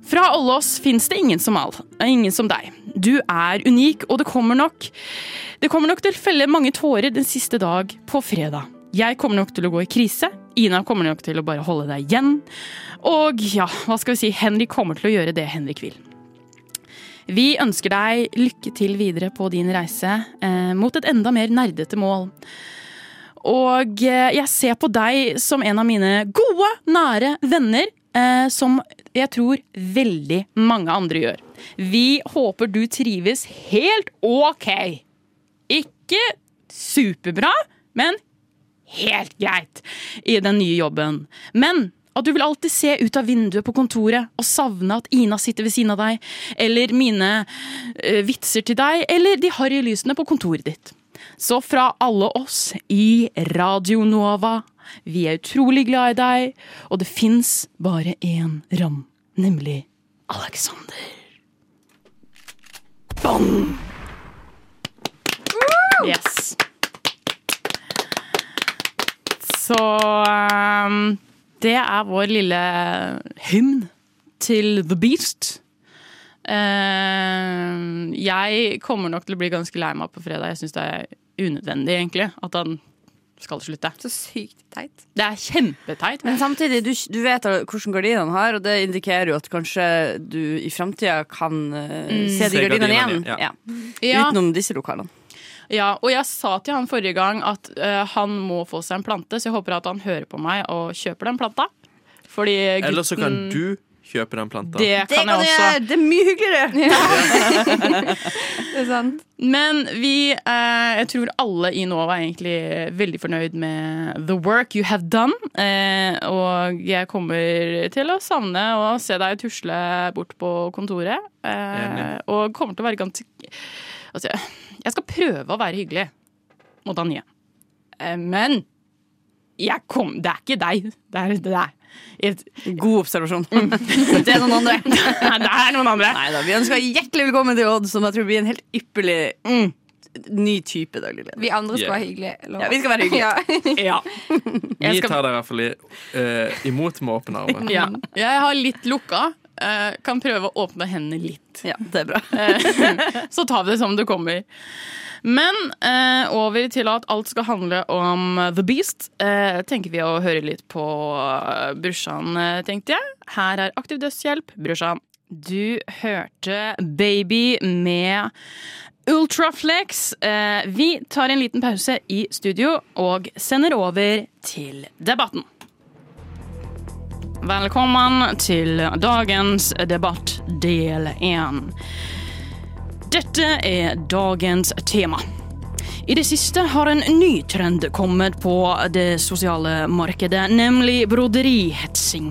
E: Fra alle oss fins det ingen som, all, ingen som deg. Du er unik, og det kommer nok Det kommer nok til å felle mange tårer den siste dag på fredag. Jeg kommer nok til å gå i krise. Ina kommer nok til å bare holde deg igjen. Og ja, hva skal vi si, Henrik kommer til å gjøre det Henrik vil. Vi ønsker deg lykke til videre på din reise eh, mot et enda mer nerdete mål. Og eh, jeg ser på deg som en av mine gode, nære venner, eh, som jeg tror veldig mange andre gjør. Vi håper du trives helt OK. Ikke superbra, men helt greit i den nye jobben. Men at du vil alltid se ut av vinduet på kontoret og savne at Ina sitter ved siden av deg, eller mine eh, vitser til deg, eller de harry lysene på kontoret ditt. Så fra alle oss i Radio Nova, vi er utrolig glad i deg, og det fins bare én ram, nemlig Alexander. Bong! Yes. Så um, det er vår lille hymn til The Beast. Eh, jeg kommer nok til å bli ganske lei meg på fredag. Jeg syns det er unødvendig egentlig at han skal slutte.
G: Så sykt teit.
E: Det er kjempeteit.
F: Men samtidig, du, du vet hvordan gardinene har, og det indikerer jo at kanskje du i framtida kan eh, se de
B: Se
F: gardinene igjen.
B: gardinene, ja.
F: Ja.
E: Ja,
F: Utenom disse lokalene.
E: ja, og jeg sa til han forrige gang at eh, han må få seg en plante, så jeg håper at han hører på meg og kjøper den planta. Fordi gutten
B: Eller så kan du kjøpe den planta.
E: Mm. Det kan jeg også.
F: Det er mye hyggeligere! [LAUGHS]
G: Det er sant.
E: Men vi, eh, jeg tror alle i Nova er egentlig veldig fornøyd med the work you have done. Eh, og jeg kommer til å savne å se deg tusle bort på kontoret. Eh,
B: Enig.
E: og kommer til å være ganske Altså, jeg skal prøve å være hyggelig mot han nye. Eh, Men jeg kom, det er ikke deg. Det er det er- et-
F: [LAUGHS] God observasjon. det er noen andre.
E: [LAUGHS] Nei, det er noen andre.
F: Mm. Neida, vi ønsker hjertelig velkommen til Odd, som jeg tror blir en helt ypperlig ny type daglig leder.
G: Vi andre skal
B: Yeah.
G: være hyggelige. eller?
F: Ja, vi skal være hyggelige.
G: Ja.
E: Ja.
B: Vi
E: Jeg, skal,
B: tar deg i hvert fall i, eh, imot med åpne armer.
E: [LAUGHS] ja. jeg har litt lukka. eh, Kan prøve å åpne hendene litt.
F: Ja, det er bra.
E: Så tar vi det som det kommer. Men eh, over til at alt skal handle om The Beast, eh, tenker vi å høre litt på eh, Brorsan, eh, tenkte jeg. Her er Aktiv dødshjelp, Brorsan. Du hørte Baby med Ultraflex. Eh, vi tar en liten pause i studio og sender over til debatten. Velkommen til dagens debatt del én. Dette er dagens tema. I det siste har en ny trend kommet på det sosiale markedet, nemlig broderihetsing.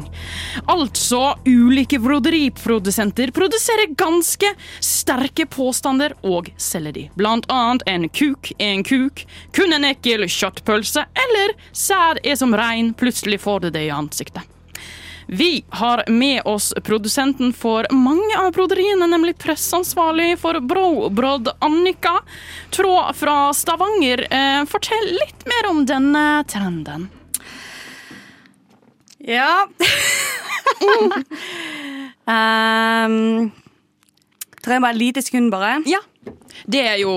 E: Altså ulike broderiprodusenter produserer ganske sterke påstander og selger de. Blant annet en kuk er en kuk, kun en ekkel kjøttpølse, eller sæd er som regn, plutselig får det det i ansiktet. Vi har med oss produsenten for mange av broderiene, nemlig pressansvarlig for Brobrod, Annika Trå fra Stavanger. Eh, fortell litt mer om denne trenden.
F: Ja. [LAUGHS] um, trenger bare et lite sekund, bare.
G: ja.
E: Det er jo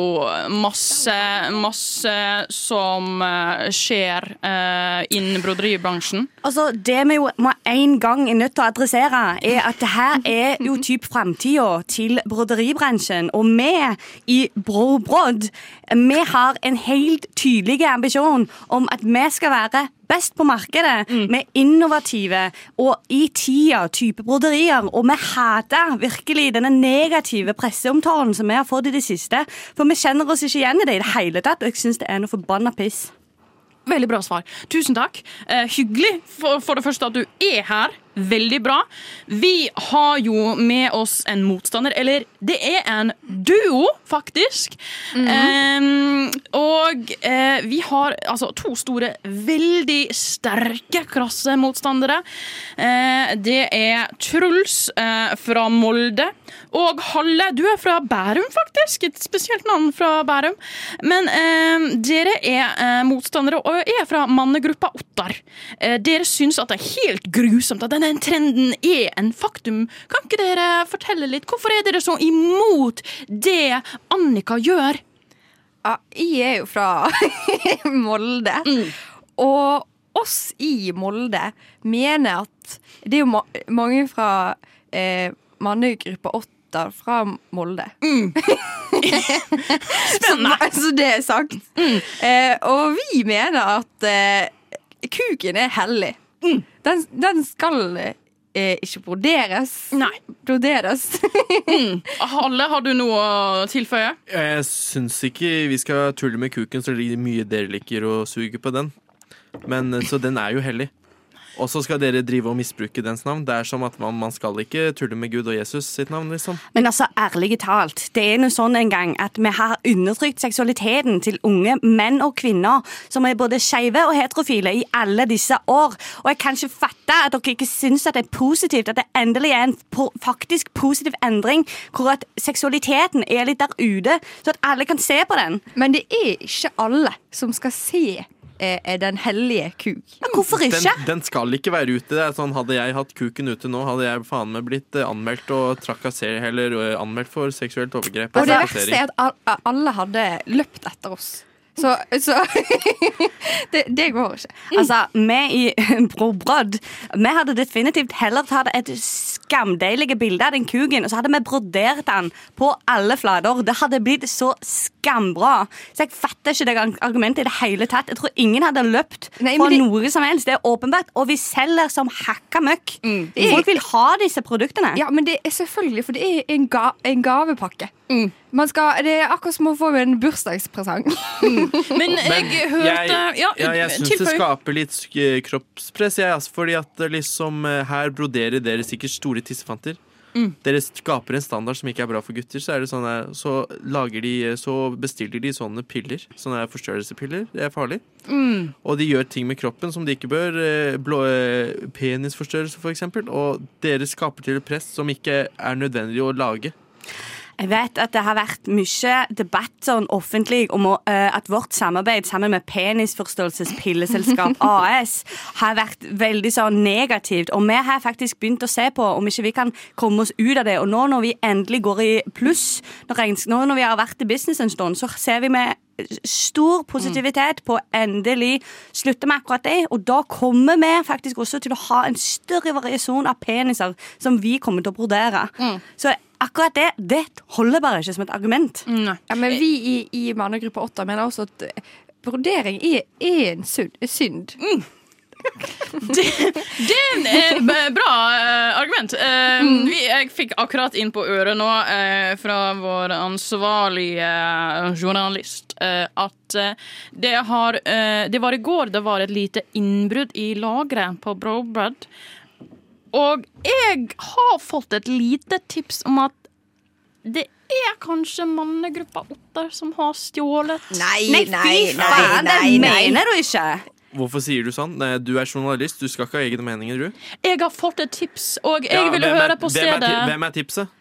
E: masse, masse som eh, skjer eh, innen broderibransjen.
F: Altså, Det vi jo må en gang er nødt til å adressere, er at det her er jo typ framtida til broderibransjen. Og vi i Brobrod vi har en helt tydelig ambisjon om at vi skal være best på markedet med innovative og i tida type broderier. Og vi hater virkelig denne negative presseomtalen som vi har fått i det siste. For vi kjenner oss ikke igjen i det i det hele tatt. og Jeg syns det er noe forbanna piss.
E: Veldig bra svar. Tusen takk. Eh, hyggelig for, for det første at du er her. Veldig bra. Vi har jo med oss en motstander, eller det er en duo, faktisk. eh, og eh, vi har altså to store, veldig sterke, krasse motstandere. Eh, det er Truls eh, fra Molde og Halle. Du er fra Bærum, faktisk. Et spesielt navn fra Bærum. Men eh, dere er eh, motstandere og er fra mannegruppa Ottar. Eh, dere syns at det er helt grusomt at denne trenden er en faktum. Kan ikke dere fortelle litt? Hvorfor er dere så imot det Annika gjør?
G: ja. Jeg er jo fra [LAUGHS] Molde.
E: Mm.
G: Og oss i Molde mener at Det er jo ma mange fra eh, mannegruppa Åtter fra Molde.
E: Mm.
G: [LAUGHS]
E: Spennende. Mm.
G: Så det er sagt. Eh, og vi mener at eh, kuken er hellig.
E: Mm.
G: Den, den skal eh, ikke broderes.
E: Nei.
G: Broderes.
E: Halle, har du noe å tilføye?
B: Jeg syns ikke vi skal tulle med kuken, så det er mye dere liker å suge på den. Men, eh, så den er jo hellig. Og så skal dere drive og misbruke dens navn. Det er som at man, man skal ikke tulle med Gud og Jesus sitt navn, liksom.
F: Men altså, ærlig talt, det er noe sånn en gang at vi har undertrykt seksualiteten til unge menn og kvinner som er både skeive og heterofile i alle disse år. Og jeg kan ikke fatte at dere ikke syns at det er positivt, at det endelig er en po faktisk positiv endring hvor at seksualiteten er litt der ute, så at alle kan se på den.
G: Men det er ikke alle som skal se eh, Den hellige kuk.
F: Ja, hvorfor
B: Den,
F: ikke?
B: den skal ikke være ute. Det er sånn, hadde jeg hatt kuken ute nå, hadde jeg faen meg blitt eh, anmeldt og trakassert eller eh, anmeldt for seksuelt overgrep. Altså,
G: Og det verste
B: trakassering.
G: er at al- alle hadde løpt etter oss. Så, så det, det går ikke.
F: Altså, vi i [LAUGHS] Brobrod Vi hadde definitivt heller tatt et skamdeilig bilde av den kuken, og så hadde vi brodert den på alle flater. Det hadde blitt så skambra. Så jeg fatter ikke det argumentet i det hele tatt. Jeg tror ingen hadde løpt
G: Nei, men
F: fra
G: det-
F: noe som helst. Det er åpenbart. Og vi selger som hakka møkk. Folk vil ha disse produktene.
G: Mm. Ja, men det er selvfølgelig, for det er en, ga, en gavepakke. Man skal, det er akkurat som å få en bursdagspresang.
E: Men
B: Men
E: jeg hørte
B: jeg, ja, jeg syns det
E: tilføy.
B: skaper litt sk- kroppspress, jeg, altså, fordi at eh, liksom eh, her broderer dere sikkert store tissefanter.
E: Mm.
B: Dere skaper en standard som ikke er bra for gutter. Så, er det sånne, så, lager de, eh, så bestiller de sånne piller. Sånne forstørrelsespiller. Det er farlig.
E: Mm.
B: Og de gjør ting med kroppen som de ikke bør. eh, Blå, eh, penisforstørrelse, for eksempel. Og dere skaper til et press som ikke er nødvendig å lage.
F: Jeg vet at det har vært mye debatt sånn offentlig om å, eh, at vårt samarbeid sammen med Penisforstørrelsespilleselskap AS har vært veldig sånn negativt. Og vi har faktisk begynt å se på om ikke vi kan komme oss ut av det. Og nå når vi endelig går i pluss, når, regns- nå når vi har vært i business en stund, så ser vi med
G: Mm.
F: stor positivitet på å endelig slutte med akkurat det. Og da kommer vi faktisk også til å ha en større variasjon av peniser som vi kommer til å brodere.
G: Mm.
F: Så akkurat det, det holder bare ikke som et argument.
G: Ja, men vi i, i mannegruppa 8 mener også at eh, brodering er, er en synd. synd.
E: Det er et eh, bra eh, argument. Eh, vi, jeg fikk akkurat inn på øret nå eh, fra vår ansvarlige eh, journalist eh, at eh, det har eh, Det var i går det var et lite innbrudd i lageret på Brobred. Og jeg har fått et lite tips om at det er kanskje mannegruppa Otter som har stjålet.
G: Nei,
F: det mener du ikke!
B: Hvorfor sier du sånn? Nei, Du er journalist, du skal ikke ha egne meninger, du.
E: Jeg har fått et tips, og jeg
B: Ja,
E: ville
B: hvem er-
E: høre på
B: hvem er ti-
E: stedet.
B: Hvem er tipset?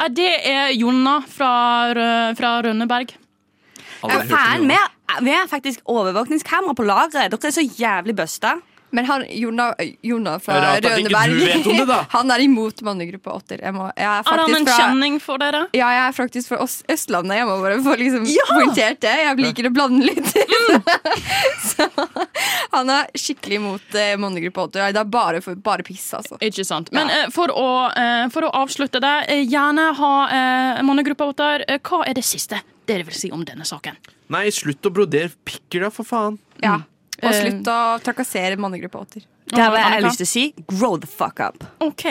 E: Ja, det er Jonna fra, Rø- fra Rønneberg.
B: Alle
F: Ja,
B: har hørt om
F: faen,
B: Jonas.
F: vi har, vi har faktisk overvåkningskamera på lageret. Dere er så jævlig busta.
G: Men han, Jonna, Jonna fra
B: Rart at ikke
G: Rønneberg
B: du vet om det, da.
G: [LAUGHS] Han er imot mannegruppa 8 Jeg, må, jeg
E: Er han
G: er faktisk
E: en
G: fra
E: kjenning for dere?
G: ja, jeg er faktisk fra Øst Østlandet. Jeg må bare få liksom poengtert det. Jeg liker å blande litt.
E: Mm.
G: [LAUGHS] Så han er skikkelig imot eh, mannegruppa 8. Det er bare, for, bare piss, altså.
E: Ikke sant. Men eh, for, å, eh, for å avslutte det, eh, gjerne ha eh, mannegruppa Ottar. Eh, hva er det siste dere vil si om denne saken?
B: Nei, slutt å brodere pikker, da, for faen.
G: Ja. Og
E: Eh.
G: slutt å trakassere mannegruppa 8.
F: Det har jeg
E: Annika?
F: lyst til å si. Grow the fuck up.
E: Ok.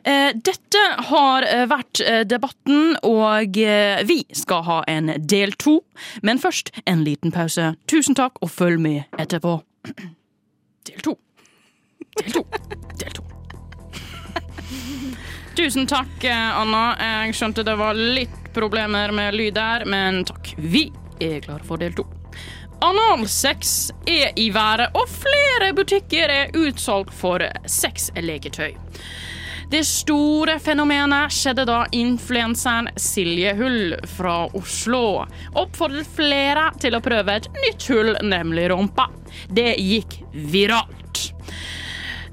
E: Eh, dette har eh, vært eh, debatten, og eh, vi skal ha en del to. Men først en liten pause. Tusen takk, og følg med etterpå. [CLEARS THROAT] Del to. Del to. Del to. [LAUGHS] Tusen takk, eh, Anna. Jeg skjønte det var litt problemer med lyd der, men takk. Vi er klare for del to. Analsex er i været, og flere butikker er utsolgt for sexleketøy. Det store fenomenet skjedde da influenseren Silje Hull fra Oslo oppfordret flere til å prøve et nytt hull, nemlig rumpa. Det gikk viralt.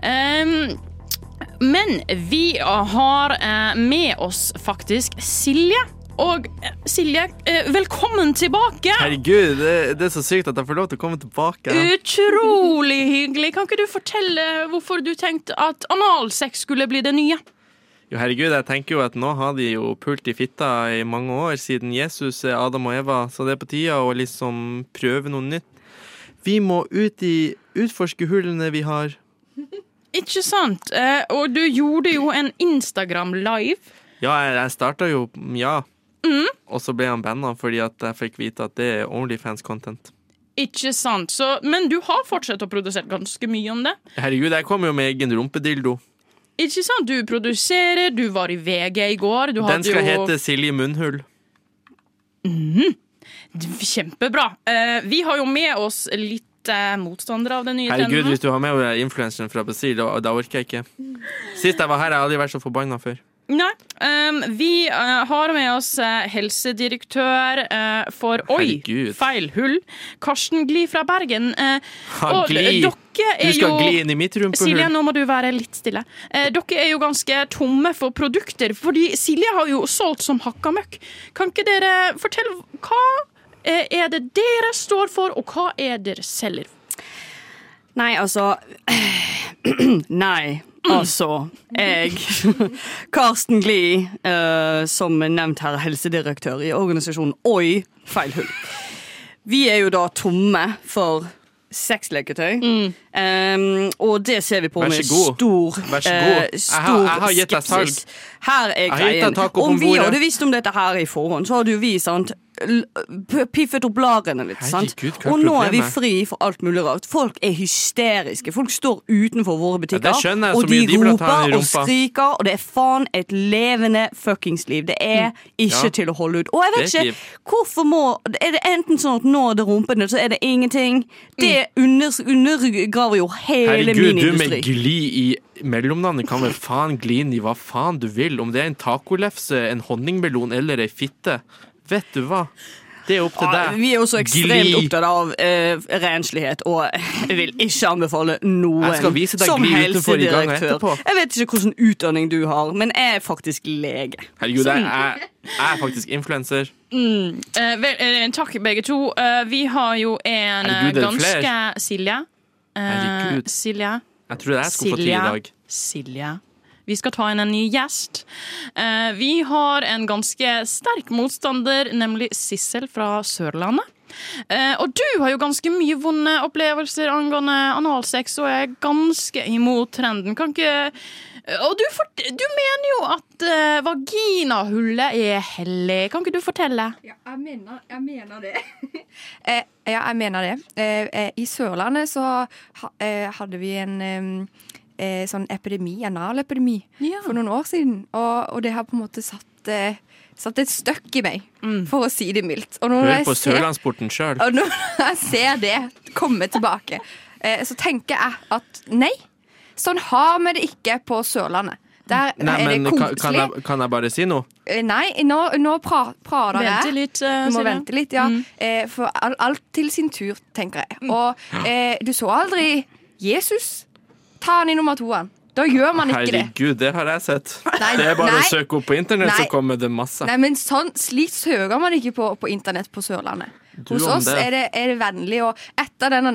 E: Ehm, men vi har eh, med oss faktisk Silje. Og eh, Silje, eh, velkommen tilbake!
B: Herregud, det, det er så sykt at jeg får lov til å komme tilbake.
E: Utrolig hyggelig. Kan ikke du fortelle hvorfor du tenkte at analsex skulle bli det nye?
B: Jo, herregud, jeg tenker jo at nå har de jo pult i fitta i mange år, siden Jesus er Adam og Eva, så det er på tide å liksom prøve noe nytt. Vi må ut i utforske hullene vi har.
E: Ikke sant? Eh, og du gjorde jo en Instagram live.
B: Ja, jeg, jeg starta jo Ja.
E: Mm.
B: Og så ble han banna fordi at jeg fikk vite at det er Onlyfans-content.
E: Ikke sant? Så, men du har fortsatt å produsere ganske mye om det.
B: Herregud, jeg kom jo med egen rumpedildo.
E: Ikke sant? Du produserer, du var i VG i går. Du
B: Den
E: hadde
B: skal
E: jo
B: hete Silje Munnhull.
E: Kjempebra. Eh, vi har jo med oss litt eh, motstandere av den nye
B: Herregud,
E: trenden.
B: hvis du har med influenseren fra Brasil, da, da orker jeg ikke. Sist jeg var her, jeg har aldri vært så forbanna før.
E: Nei. ehm, vi eh, har med oss eh, helsedirektør eh, for Oi,
B: Herregud.
E: feil hull. Karsten Gli fra Bergen. eh,
B: Ha,
E: og
B: gli.
E: dere
B: Du
E: er
B: skal
E: jo
B: gli inn i mitt rumpehull.
E: Silje, nå må du være litt stille. Eh, dere er jo ganske tomme for produkter, fordi Silje har jo solgt som hakka møkk. Kan ikke dere fortelle hva eh, er det dere står for, og hva er dere selger?
F: Nei, altså [CLEARS THROAT] Nei, altså Jeg, [LAUGHS] Karsten Gli, eh, som nevnt her, helsedirektør i organisasjonen Oi, feil hull. Vi er jo da tomme for sexleketøy, Eh, og det ser vi på
B: Vær
F: med
B: så god.
F: stor,
B: Vær så
F: eh,
B: god. Jeg har-
F: stor
B: jeg har gitt deg
F: skepsis.
B: har
F: Her er
B: gitt deg
F: greien.
B: taco på
F: Om vi
B: bordet.
F: hadde visst om dette her i forhånd, så hadde jo vi sant l- p- piffet opp lagene litt. sant?
B: Herregud, hva er
F: Og nå er vi
B: problemet?
F: fri for alt mulig rart. Folk er hysteriske. Folk står utenfor våre
B: Ja, det
F: butikker,
B: skjønner jeg, så
F: og de
B: mye de burde ta den
F: roper
B: i
F: og
B: rumpa.
F: skriker, og det er faen et levende fuckings liv. Det er ikke
B: Mm. Ja.
F: til å holde ut. Og jeg vet
B: Det er
F: ikke, hvorfor må Er det enten sånn at nå er det rumpene, så er det ingenting? Det under, undergraver jo hele
B: Mm. Herregud,
F: min
B: du med
F: industri.
B: gli i mellomnavnet kan vel faen gli inn i hva faen du vil. Om det er en tacolefse, en honningmelon eller ei fitte. Vet du hva? Det er opp til
F: Ja,
B: deg.
F: Ah, vi er jo så ekstremt
B: Gli.
F: opptatt av eh, renslighet, og jeg vil ikke anbefale noen
B: Jeg skal vise deg
F: som
B: gli utenfor i gangen etterpå.
F: Jeg vet ikke hvilken utdanning du har, men jeg er faktisk lege.
B: Herregud, jeg er, jeg er faktisk influenser.
E: Eh, vel, eh, takk, begge to. Eh, vi har jo en eh,
B: Herregud, er det
E: ganske
B: flere?
E: Silje. Eh,
B: Herregud.
E: Silje.
B: Jeg trodde jeg skulle få tid i dag.
E: Silje. Vi skal ta inn en ny gjest. Eh, vi har en ganske sterk motstander, nemlig Sissel fra Sørlandet. Eh, og du har jo ganske mye vonde opplevelser angående analsex, og jeg er ganske imot trenden. Kan ikke eh, Og du, fort- du mener jo at eh, vaginahullet er hellig. Kan ikke du fortelle?
G: Ja, jeg mener, jeg mener det. [LAUGHS] eh, ja, jeg mener det. Eh, eh, I Sørlandet så ha, eh, hadde vi en em, eh, sånn epidemi, en analepidemi,
E: Ja.
G: for noen år siden. Og, og det har på en måte satt, eh, satt et støkk i meg, for å si det mildt. Og når
B: Hør
G: jeg
B: på
G: ser-
B: Sørlandsporten sjøl.
G: [LAUGHS] og når jeg ser det komme tilbake, eh, så tenker jeg at nei, sånn har vi det ikke på Sørlandet. Der
B: Nei,
G: er
B: men
G: det
B: kan,
G: koselig.
B: kan, jeg, kan jeg bare si noe?
G: Eh, Nei, nå, nå pra, prater jeg.
E: Vente litt, eh,
G: Du må
E: Silje.
G: vente litt, ja. Eh, for all, alt til sin tur, tenker jeg. Og eh, du så aldri Jesus. Ta han i nummer to-en. Da gjør man ikke det.
B: Herregud, det har jeg sett.
G: Nei,
B: Det er bare
G: nei.
B: å søke opp på internett, så
G: Nei.
B: kommer det masse.
G: Nei, men sånn, Slik søker man ikke på, på internett på Sørlandet.
B: Du
G: Hos
B: om
G: oss
B: det.
G: er det, er det vennlig, og etter den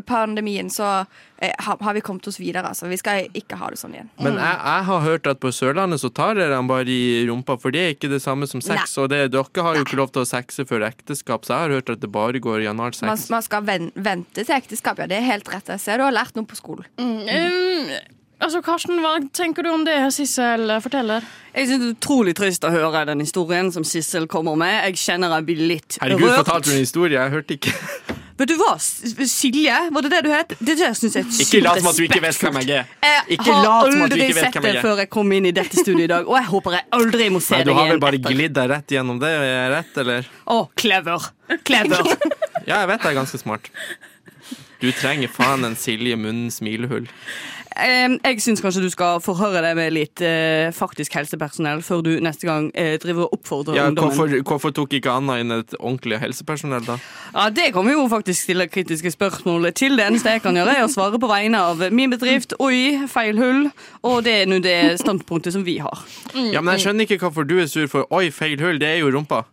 G: analpandemien så eh, har, har vi kommet oss videre. Altså. Vi skal ikke ha det sånn igjen.
B: Men jeg, jeg har hørt at på Sørlandet så tar dere den bare i rumpa, for det er ikke det samme som sex. Og det, dere har jo ikke lov til å sexe før ekteskap, så jeg har hørt at det bare går i
G: Man,
B: analsex.
G: man skal ven, vente til ekteskap, ja. Det er helt rett. Jeg ser du har lært noe på skolen.
E: Um, altså, Karsten, hva tenker du om det Sissel forteller?
F: Jeg synes Det er utrolig trist å høre den historien som Sissel kommer med. Jeg kjenner jeg blir litt
B: Herregud,
F: rørt.
B: fortalte du en historie? Jeg hørte ikke.
F: Vet du hva, S- Silje? Var det det du het? Det der synes jeg er
B: [LAUGHS] Ikke lat som at du ikke vet hvem jeg er. Ikke lat som at du ikke
F: Jeg har aldri
B: vet
F: sett
B: hvem
F: det
B: jeg er.
F: før jeg kom inn i dette studioet i dag, og jeg håper jeg aldri må se
B: Nei, du
F: deg
B: har
F: igjen.
B: vel bare
F: etter.
B: glidd deg rett gjennom det? Er jeg rett, eller?
F: Å, clever.
B: [LAUGHS]
F: Clever.
B: Ja, jeg vet jeg er ganske smart. Du trenger faen en Silje Munnen smilehull.
F: Em, jeg syns kanskje du skal forhøre deg med litt eh, faktisk helsepersonell før du neste gang eh, driver og oppfordrer
B: Ja,
F: ungdommen.
B: hvorfor, hvorfor tok ikke Anna inn et ordentlig helsepersonell, da?
F: Ja, Det kan vi jo faktisk stille kritiske spørsmål til. Det eneste jeg kan gjøre, er å svare på vegne av min bedrift. Oi, feil hull. Og det er nå det standpunktet som vi har.
B: Ja, men jeg skjønner ikke hvorfor du er sur for Oi, feil hull, det er jo rumpa.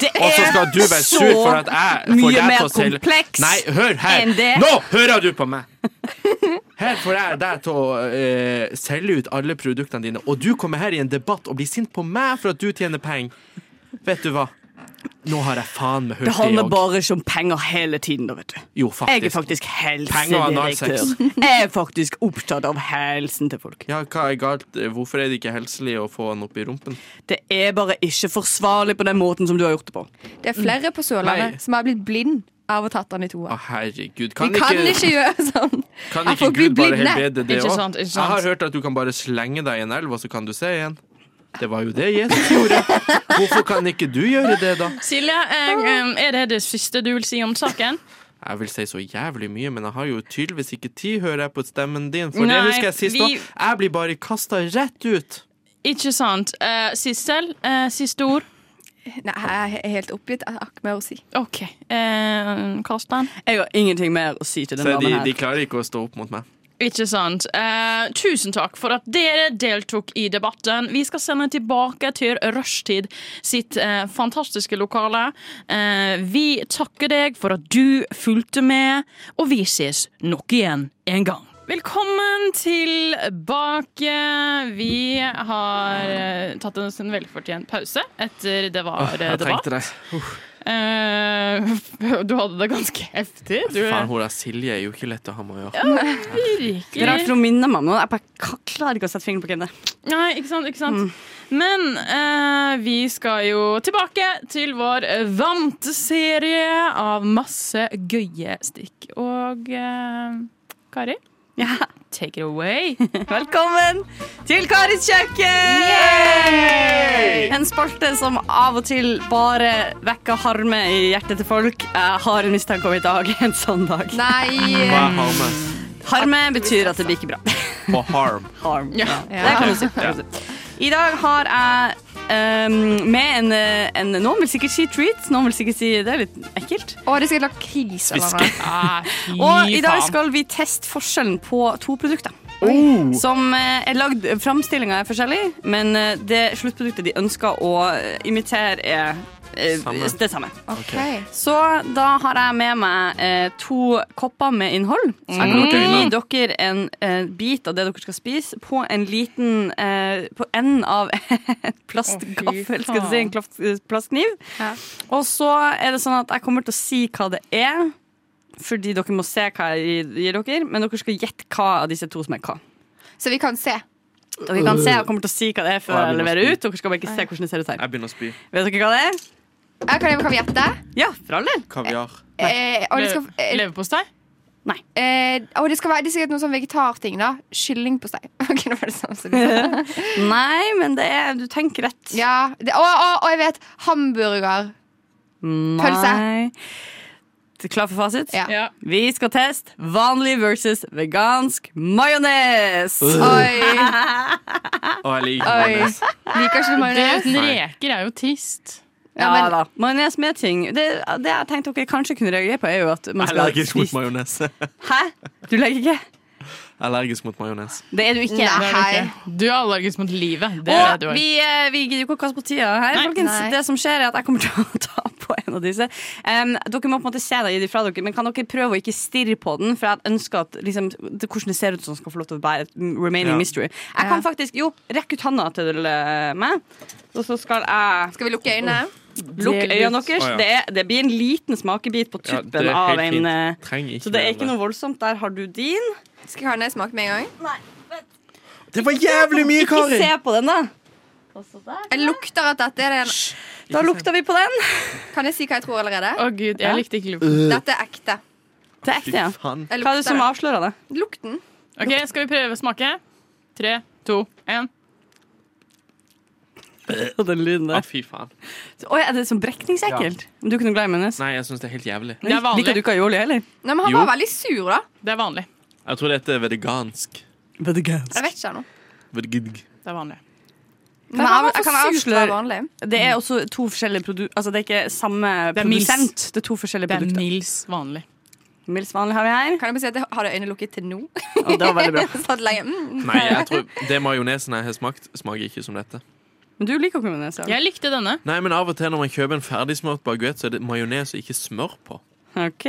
F: Det
B: Og så skal du være sur for at jeg får
F: mye
B: deg
F: mer
B: til å selge
F: kompleks
B: Nei, hør her!
F: enn det.
B: Nå hører du på
F: [LAUGHS]
B: meg! Her får jeg deg til å eh, selge ut alle produktene dine, og du kommer her i en debatt og blir sint på meg for at du tjener penger. Vet du hva? Nå har jeg faen meg hørt
F: Det
B: det
F: handler
B: òg.
F: bare ikke om penger hele tiden, da, vet du.
B: Jo,
F: Jeg er
B: faktisk.
F: faktisk
B: Penger og
F: helsedirektør.
B: analsex.
F: Jeg er faktisk opptatt av helsen til folk.
B: Ja, hva er galt? Hvorfor er det ikke helselig å få han opp i rumpen?
F: Det er bare ikke forsvarlig på den måten som du har gjort det på.
G: Det er flere på Sørlandet
B: Mm. Nei.
G: som har blitt blind av å tatt den i toa.
B: Å, herregud.
G: Vi
B: Kan
G: kan ikke gjøre [LAUGHS] sånn.
B: Kan
G: At
B: ikke
G: folk blir
B: Gud bare
G: blinde.
B: helbrede det
E: Ikke
B: òg?
E: sant, ikke
B: Jeg har
E: sant.
B: hørt at du kan bare slenge deg i en elv, og så kan du se igjen. Det var jo det Jesus gjorde. Hvorfor kan ikke du gjøre det, da?
E: Silje, eh, em, er det det siste du vil si om [LAUGHS] saken?
B: Jeg vil si så jævlig mye, men jeg har jo tydeligvis ikke tid, hører jeg på stemmen din. For det
E: Nei,
B: husker jeg sist
E: vi-
B: òg. Jeg blir bare kasta rett ut.
E: Ikke sant. Eh, Sissel, eh, siste ord.
G: Nei, jeg er helt oppgitt. Jeg har ikke mer å si.
E: OK. Eh, Karsten.
F: Jeg har ingenting mer å si til den
B: Så de,
F: damen
B: de
F: her.
B: klarer ikke å stå opp mot meg.
E: Ikke sant. Eh, tusen takk for at dere deltok i debatten. Vi skal sende tilbake til Rushtid sitt eh, fantastiske lokale. Eh, vi takker deg for at du fulgte med, og vi ses nok igjen en gang. Velkommen tilbake. Vi har eh, tatt oss en velfortjent sånn pause etter det var eh,
B: Ah, Jeg
E: debatt.
B: trengte deg.
E: Eh, Eh, [LAUGHS] du hadde det ganske heftig. Du,
B: Faen, hun der Silje er jo ikke lett å ha med å gjøre.
F: Det er rart, for hun minner meg om noe. Jeg bare ka- klarer ikke å sette fingeren på hvem det er.
E: Nei, ikke sant, ikke sant. Men eh, vi skal jo tilbake til vår vante serie av masse gøye stikk. Og eh, Kari,
F: Ja. [LAUGHS]
E: take it away.
F: Velkommen til Karis kjøkken! En spalte som av og til bare vekker harme i hjertet til folk. Jeg har en mistanke om i dag, [LAUGHS] en sånn dag.
G: Nei.
B: Hva er harme?
F: Harme betyr at det blir ikke bra.
B: På harm.
F: [LAUGHS] Harm.
E: Ja.
F: Det kan du si. det kan du si. I dag har jeg ehm, med en, eh, en Noen vil sikkert si treat, noen vil sikkert si det er litt ekkelt.
G: Å, de skal lage kris eller noe.
E: Ah, fy
F: Og i dag
E: faen.
F: skal vi teste forskjellen på to produkter.
B: Oh.
F: Som eh, er lagd Framstillinga er forskjellig, men eh, det sluttproduktet de ønsker å eh, imitere, er eh,
B: Samme.
F: det samme.
G: Ok.
F: Så da har jeg med meg eh, to kopper med innhold. Så jeg kommer til å gi dere en eh, bit av det dere skal spise, på en liten eh, På enden av [LAUGHS] en plastgaffel, skal jeg si. En kloft- eh, plastkniv.
G: Ja.
F: Og så er det sånn at jeg kommer til å si hva det er, fordi dere må se hva jeg gir- gir dere. Men dere skal gjette hva av disse to som er hva.
G: Så vi kan se.
F: Dere kan se, jeg kommer til å si hva det er før
B: Og jeg
F: jeg
B: begynner å
F: leverer
B: spy.
F: ut. Dere skal bare ikke se hvordan det ser ut her.
B: Jeg begynner å spy.
F: Vet dere hva det er?
G: Ja, kan, jeg, kan vi gjette?
F: Ja, for all del.
B: Kaviar.
G: Eh, og det skal,
E: Le-
G: eh,
E: Leverpostei?
G: eh, å, det skal være det skal være noe sånn vegetarting, da. Kyllingpostei. [LAUGHS] Ok, nå var det sånn som det.
F: Nei, men det er Du tenker rett.
G: Ja. Det, å, å, å, jeg vet! Hamburger. Pølse.
F: Nei. Du er Klar for fasit?
G: Ja.
E: Ja.
F: Vi skal teste vanlig versus vegansk majones.
G: Oi.
B: Å, jeg liker
G: Oi.
B: majones.
G: Liker ikke du
E: Det
G: majones?
E: uten
B: Nei.
E: reker er jo trist.
F: Ja,
G: men-
F: da. Majones med ting. Det, det jeg tenkte dere kanskje kunne reagere på, er jo at man
B: Jeg er
F: skal
B: allergisk mot
F: spise-
B: majones. Jeg
F: Hæ? Du legger ikke?
B: er Allergisk mot majones.
F: Det er du ikke.
G: Nei.
E: Det er
G: Hei.
E: det ikke. Du er allergisk mot livet. Det er
F: Og
E: det du er.
F: vi, eh, vi gidder jo ikke å kaste på tida her,
E: Nei.
F: folkens.
G: Nei.
F: Det som skjer, er at jeg kommer til å [LAUGHS] ta på en av disse. Em, dere må på en måte se det, gi det fra dere, men kan dere prøve å ikke stirre på den? For jeg ønsker at liksom, det, hvordan det ser ut som skal få lov til å være et remaining
B: Ja.
F: mystery. Jeg kan faktisk Jo, rekk ut handa til eh, meg, og så skal jeg
G: Skal vi lukke øynene?
F: lukke
E: Del
F: øynene
E: ut.
F: deres.
B: Å, ja.
F: det, er- det blir en liten smakebit på
B: Ja,
F: tuppen av en eh,
B: Trenger ikke
F: Så det er ikke
B: mer.
F: noe voldsomt. Der har du din.
G: Skal jeg ha den smake med en gang?
B: Det var jævlig mye,
F: Ikke
B: Kari!
F: se på den, da. Og så der.
G: Jeg lukter at dette er den.
F: Da lukter vi på den.
G: Kan jeg si hva jeg tror allerede?
E: Å gud, jeg likte ikke luft.
B: Øh,
G: Dette er ekte.
F: Det er ekte, ja.
B: Fy faen.
G: Jeg
F: Hva er det som
G: lukter
F: avslører det?
G: det. Lukten.
E: Ok, Skal vi prøve å smake? Tre, to, én.
F: Og den lyden
B: Å, fy faen.
F: Oi, er det sånn brekningsekkelt? Du er ikke noe glad i majones?
B: Nei, jeg syns det er helt jævlig.
E: Det er vanlig.
F: Liker du ikke aioli heller?
G: Nei, men han
B: Jo.
G: var veldig sur, da.
E: Det er vanlig.
B: Jeg tror dette er vegansk.
G: Jeg vet ikke nå.
B: Vegansk.
E: Det er vanlig.
G: Men han var
F: jeg
G: for
F: kan
G: sur til å være
F: avsløre-
G: vanlig.
F: Det er også to forskjellige produkter Altså, det er ikke samme
E: Det er Mills.
F: produsent. Det er to forskjellige
E: Det er
F: produkter.
E: Nils vanlig.
F: Mils vanlig har vi her.
G: Kan jeg bare si at jeg hadde øynene lukket til nå? [LAUGHS]
F: Og [LAUGHS] det var veldig bra.
G: Satt lenge. Mm.
B: Nei, jeg tror det majonesen jeg har smakt, smaker ikke som dette.
F: Men du liker ikke majones? Ja.
E: Jeg likte denne.
B: Nei, men Av og til når man kjøper en ferdigsmurt baguett, så er det majones og ikke smør på.
F: OK.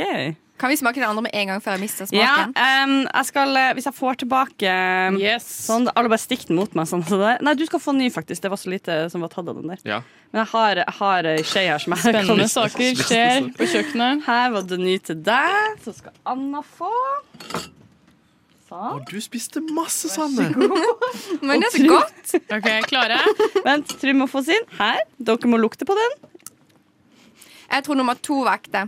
G: Kan vi smake den andre med en gang før jeg mister
F: Ja,
G: smaken?
F: em, jeg skal eh, Hvis jeg får tilbake em,
E: Yes.
F: Sånn, Alle bare stikk den mot meg. Sånn, så der. Nei, du skal få ny, faktisk. Det var så lite som var tatt av den der.
B: Ja.
F: Men jeg har, jeg har ei skje her som jeg
E: Spennende saker skjer på kjøkkenet.
F: Her var det ny til deg. Så skal Anna få. Sånn.
B: Og du spiste masse, sånn, eh. Sanne!
G: Men det er så godt.
E: Ok, Klare?
F: Vent, Trym må få sin. Her. Dere må lukte på den.
G: Jeg tror nummer to var ekte.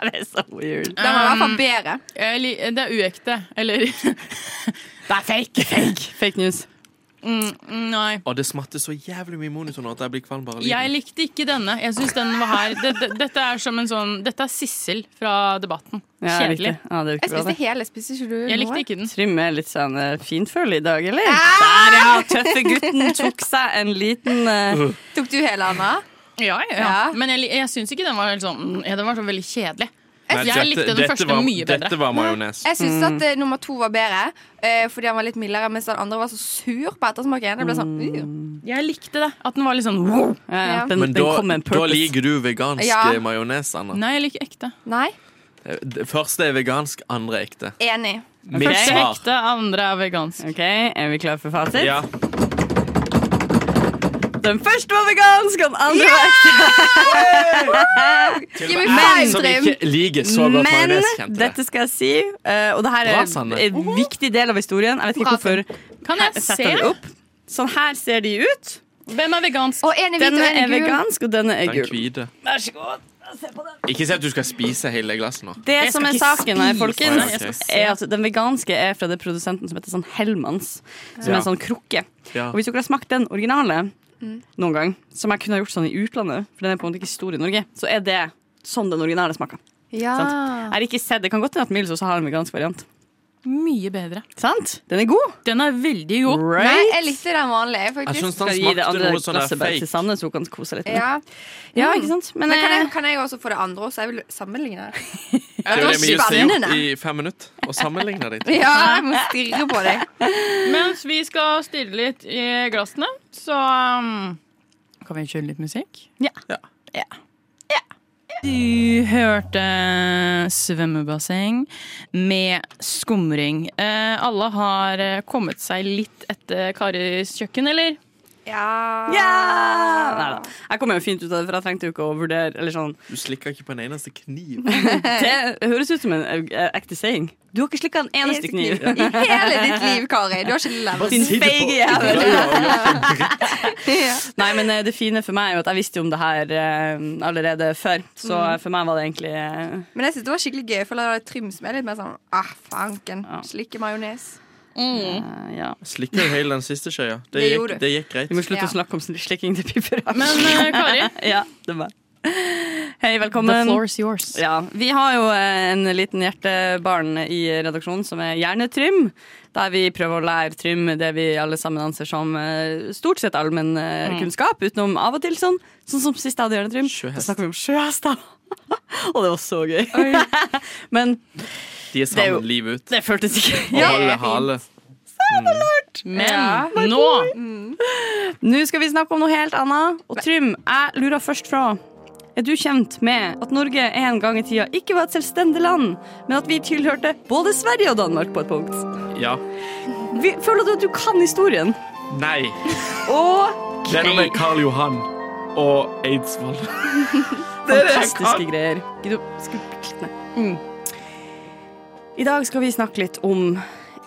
F: Det er så weird.
G: Den var i hvert fall bedre.
E: Jeg li- Det er uekte. Eller [LAUGHS] Det er fake! Fake.
F: Fake news.
E: Mm, Nei.
B: Og det smatter så jævlig mye monitor nå at jeg blir kvalm bare av
E: Jeg
B: lyden.
E: likte ikke denne. Jeg synes den var her dette, dette er som en sånn Dette er Sissel fra Debatten. Kjedelig.
F: Ja, det er jo
G: Jeg
F: ikke bra,
G: spiste
F: det.
G: hele. Spiste ikke du
E: Jeg
G: noe?
E: likte ikke den.
F: Trym er litt sånn eh, finføl i dag, eller? Der, ja! Tøffe gutten tok seg en liten eh,
G: Tok du hele, Anna?
E: Ja, ja, ja.
G: Ja.
E: Men jeg, li- jeg syns ikke den var helt sånn mm, ja, Den var så veldig kjedelig.
B: Nei,
E: Jeg likte den første
B: var,
E: mye bedre.
B: Dette var majones.
G: Jeg syns at eh, nummer to var bedre, eh, fordi han var litt mildere, mens den andre var så sur på ettersmaken. Det ble sånn uh.
E: Jeg likte det. At den var litt sånn wow.
F: ja, ja.
G: Ja.
F: Den,
B: Men
F: den
B: da,
F: kom med en
B: da
F: purpose.
B: liker du vegansk
G: Ja.
B: eh, majones, Anna.
E: Nei, jeg liker ekte.
G: Nei.
B: Det første er vegansk, andre er ekte.
G: Enig.
B: Mitt
E: Første er
B: svar.
E: ekte, andre er vegansk.
F: Ok, Er vi klare for fasit?
B: Ja.
F: Den første var vegansk, og den andre var ekte.
G: Give me
B: Jeg
G: five,
B: som
G: Trym.
B: ikke liker så godt
F: Men
B: majones, kjente det.
F: dette skal jeg si, eh, og det her
B: Bra,
F: er
B: Sanne.
F: en viktig del av historien. Jeg vet ikke
G: Bra,
F: hvorfor.
E: Kan jeg
F: Setter
E: se?
F: den opp. Sånn her ser de ut.
E: Hvem er vegansk?
G: Og en er hvit og
F: Denne
G: en
F: er
G: er gul.
F: vegansk, og denne er
B: Den
F: gul.
B: hvite.
F: Vær så god.
B: Ikke si at du skal spise hele glasset nå.
F: Det
E: Jeg
F: som
E: skal
F: er
E: ikke
F: saken her,
E: spise
B: den,
F: folkens,
B: jeg skal se.
F: er at den veganske er fra det produsenten som heter sånn Hellmans, som
B: Ja.
F: er en sånn krukke.
B: Ja.
F: Og hvis dere har smakt den originale noen gang, som jeg kunne ha gjort sånn i utlandet, for den er på en måte ikke stor i Norge, så er det sånn den originale smaker.
G: Ja.
F: Jeg har ikke sett, det kan godt hende at Mills også har en vegansk variant.
E: Mye bedre.
F: Sant? Den er god.
E: Den er veldig god.
G: Nei,
F: Right?
G: jeg likte den vanlige,
B: Jeg
G: faktisk.
B: syns den
F: Skal gi det
B: smakte
F: andre
B: noe sånn der
F: glasset bare til
B: fake.
F: Sanne, så hun kan kose litt med det.
G: Ja.
F: Ja, ikke sant? Men,
G: Men kan
F: eh,
G: jeg, kan jeg også få det andre også? Jeg vil sammenligne.
B: Det er jo det vi
G: var
B: just har gjort i
G: spennende.
B: fem minutter. Og sammenligna det.
G: Ja, jeg må stirre på deg.
E: Mens vi skal stirre litt i glassene, så um, Kan vi kjøre litt musikk? Ja.
B: Ja.
E: Ja. Du hørte svømmebasseng med skumring. Eh, alle har eh, kommet seg litt etter Karis kjøkken, eller?
G: Ja.
F: eh, Ja! Neida. Jeg kom jo fint ut av det, for jeg trengte jo ikke å vurdere eller sånn.
B: Du slikker ikke på en eneste kniv.
F: Det høres ut som en eh, ekte saying. Du har ikke slikka en eneste kniv.
G: I hele ditt liv, Kari. Du har ikke levd.
F: Din
B: sitter på-
F: feige jævel.
B: Ja,
G: Ja.
F: Nei, men eh, det fine for meg er jo at jeg visste jo om det her eh, allerede før. Så eh, for meg var det egentlig eh,
G: Men jeg synes det var skikkelig gøy, for da var det Trym som er litt mer sånn ah, fanken. Slikke majones.
F: eh, Ja.
B: Jeg Slikker jo hele den siste skjea. Det
G: Det
B: gikk,
G: gjorde du.
B: det gikk greit.
F: Vi må slutte
G: Ja.
F: å snakke om sl- slikking til piper.
E: Men [LAUGHS] eh, Kari,
F: [LAUGHS] ja, det var Hei,
E: the
F: velkommen.
E: floor is yours.
F: Ja, Vi har jo eh, en liten hjertebarn i redaksjonen som er Hjernetrym. Der vi prøver å lære Trym det vi alle sammen anser som eh, stort sett allmenn eh, kunnskap. Utenom av og til sånn, sånn som sist jeg hadde Hjernetrym. Da
B: Sjøhest.
F: snakka vi om sjøhester. [LAUGHS] Og det var så gøy. [LAUGHS] Men
B: De er
F: Det er jo-
B: sammen livet ut.
F: det føltes ikke
B: Og holder hale.
E: Men
G: Ja,
E: nå
F: Nå skal vi snakke om noe helt annet. Og Trym, jeg lurer først fra. Er du kjent med at Norge en gang i tida ikke var et selvstendig land, men at vi tilhørte både Sverige og Danmark på et punkt?
B: Ja.
F: Vi, føler du at du kan historien?
B: Nei.
F: Og
B: Det er noe med Karl Johan og Eidsvoll.
F: fantastiske greier. Gidder du- skal du klikke ned? Mm. I dag skal vi snakke litt om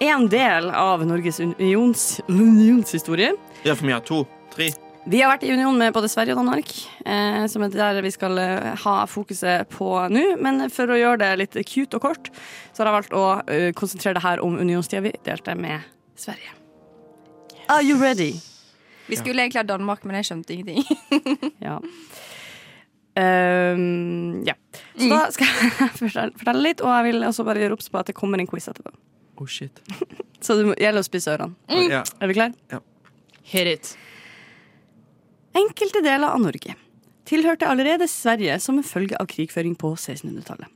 F: en del av Norges unions, unionshistorie.
B: Ja, for vi har to. Tre.
F: Vi har vært i union med både Sverige og Danmark, eh, som er der vi skal eh, ha fokuset på nå. Men for å gjøre det litt cute og kort, så har jeg valgt å eh, konsentrere det her om unionstida vi delte med Sverige. Are you ready?
G: Vi skulle egentlig ha Danmark, men jeg skjønte ingenting.
F: Ja. Ehm, ja. Så da skal jeg [LAUGHS] fortelle, fortelle litt, og jeg vil også bare gjøre obs på at det kommer en quiz etterpå.
B: Oh, shit.
F: [LAUGHS] Så det må- gjelder å spisse ørene.
B: Ja.
F: Er vi klare?
E: Hit it.
F: Enkelte deler av Norge tilhørte allerede Sverige som en følge av krigføring på 1600-tallet.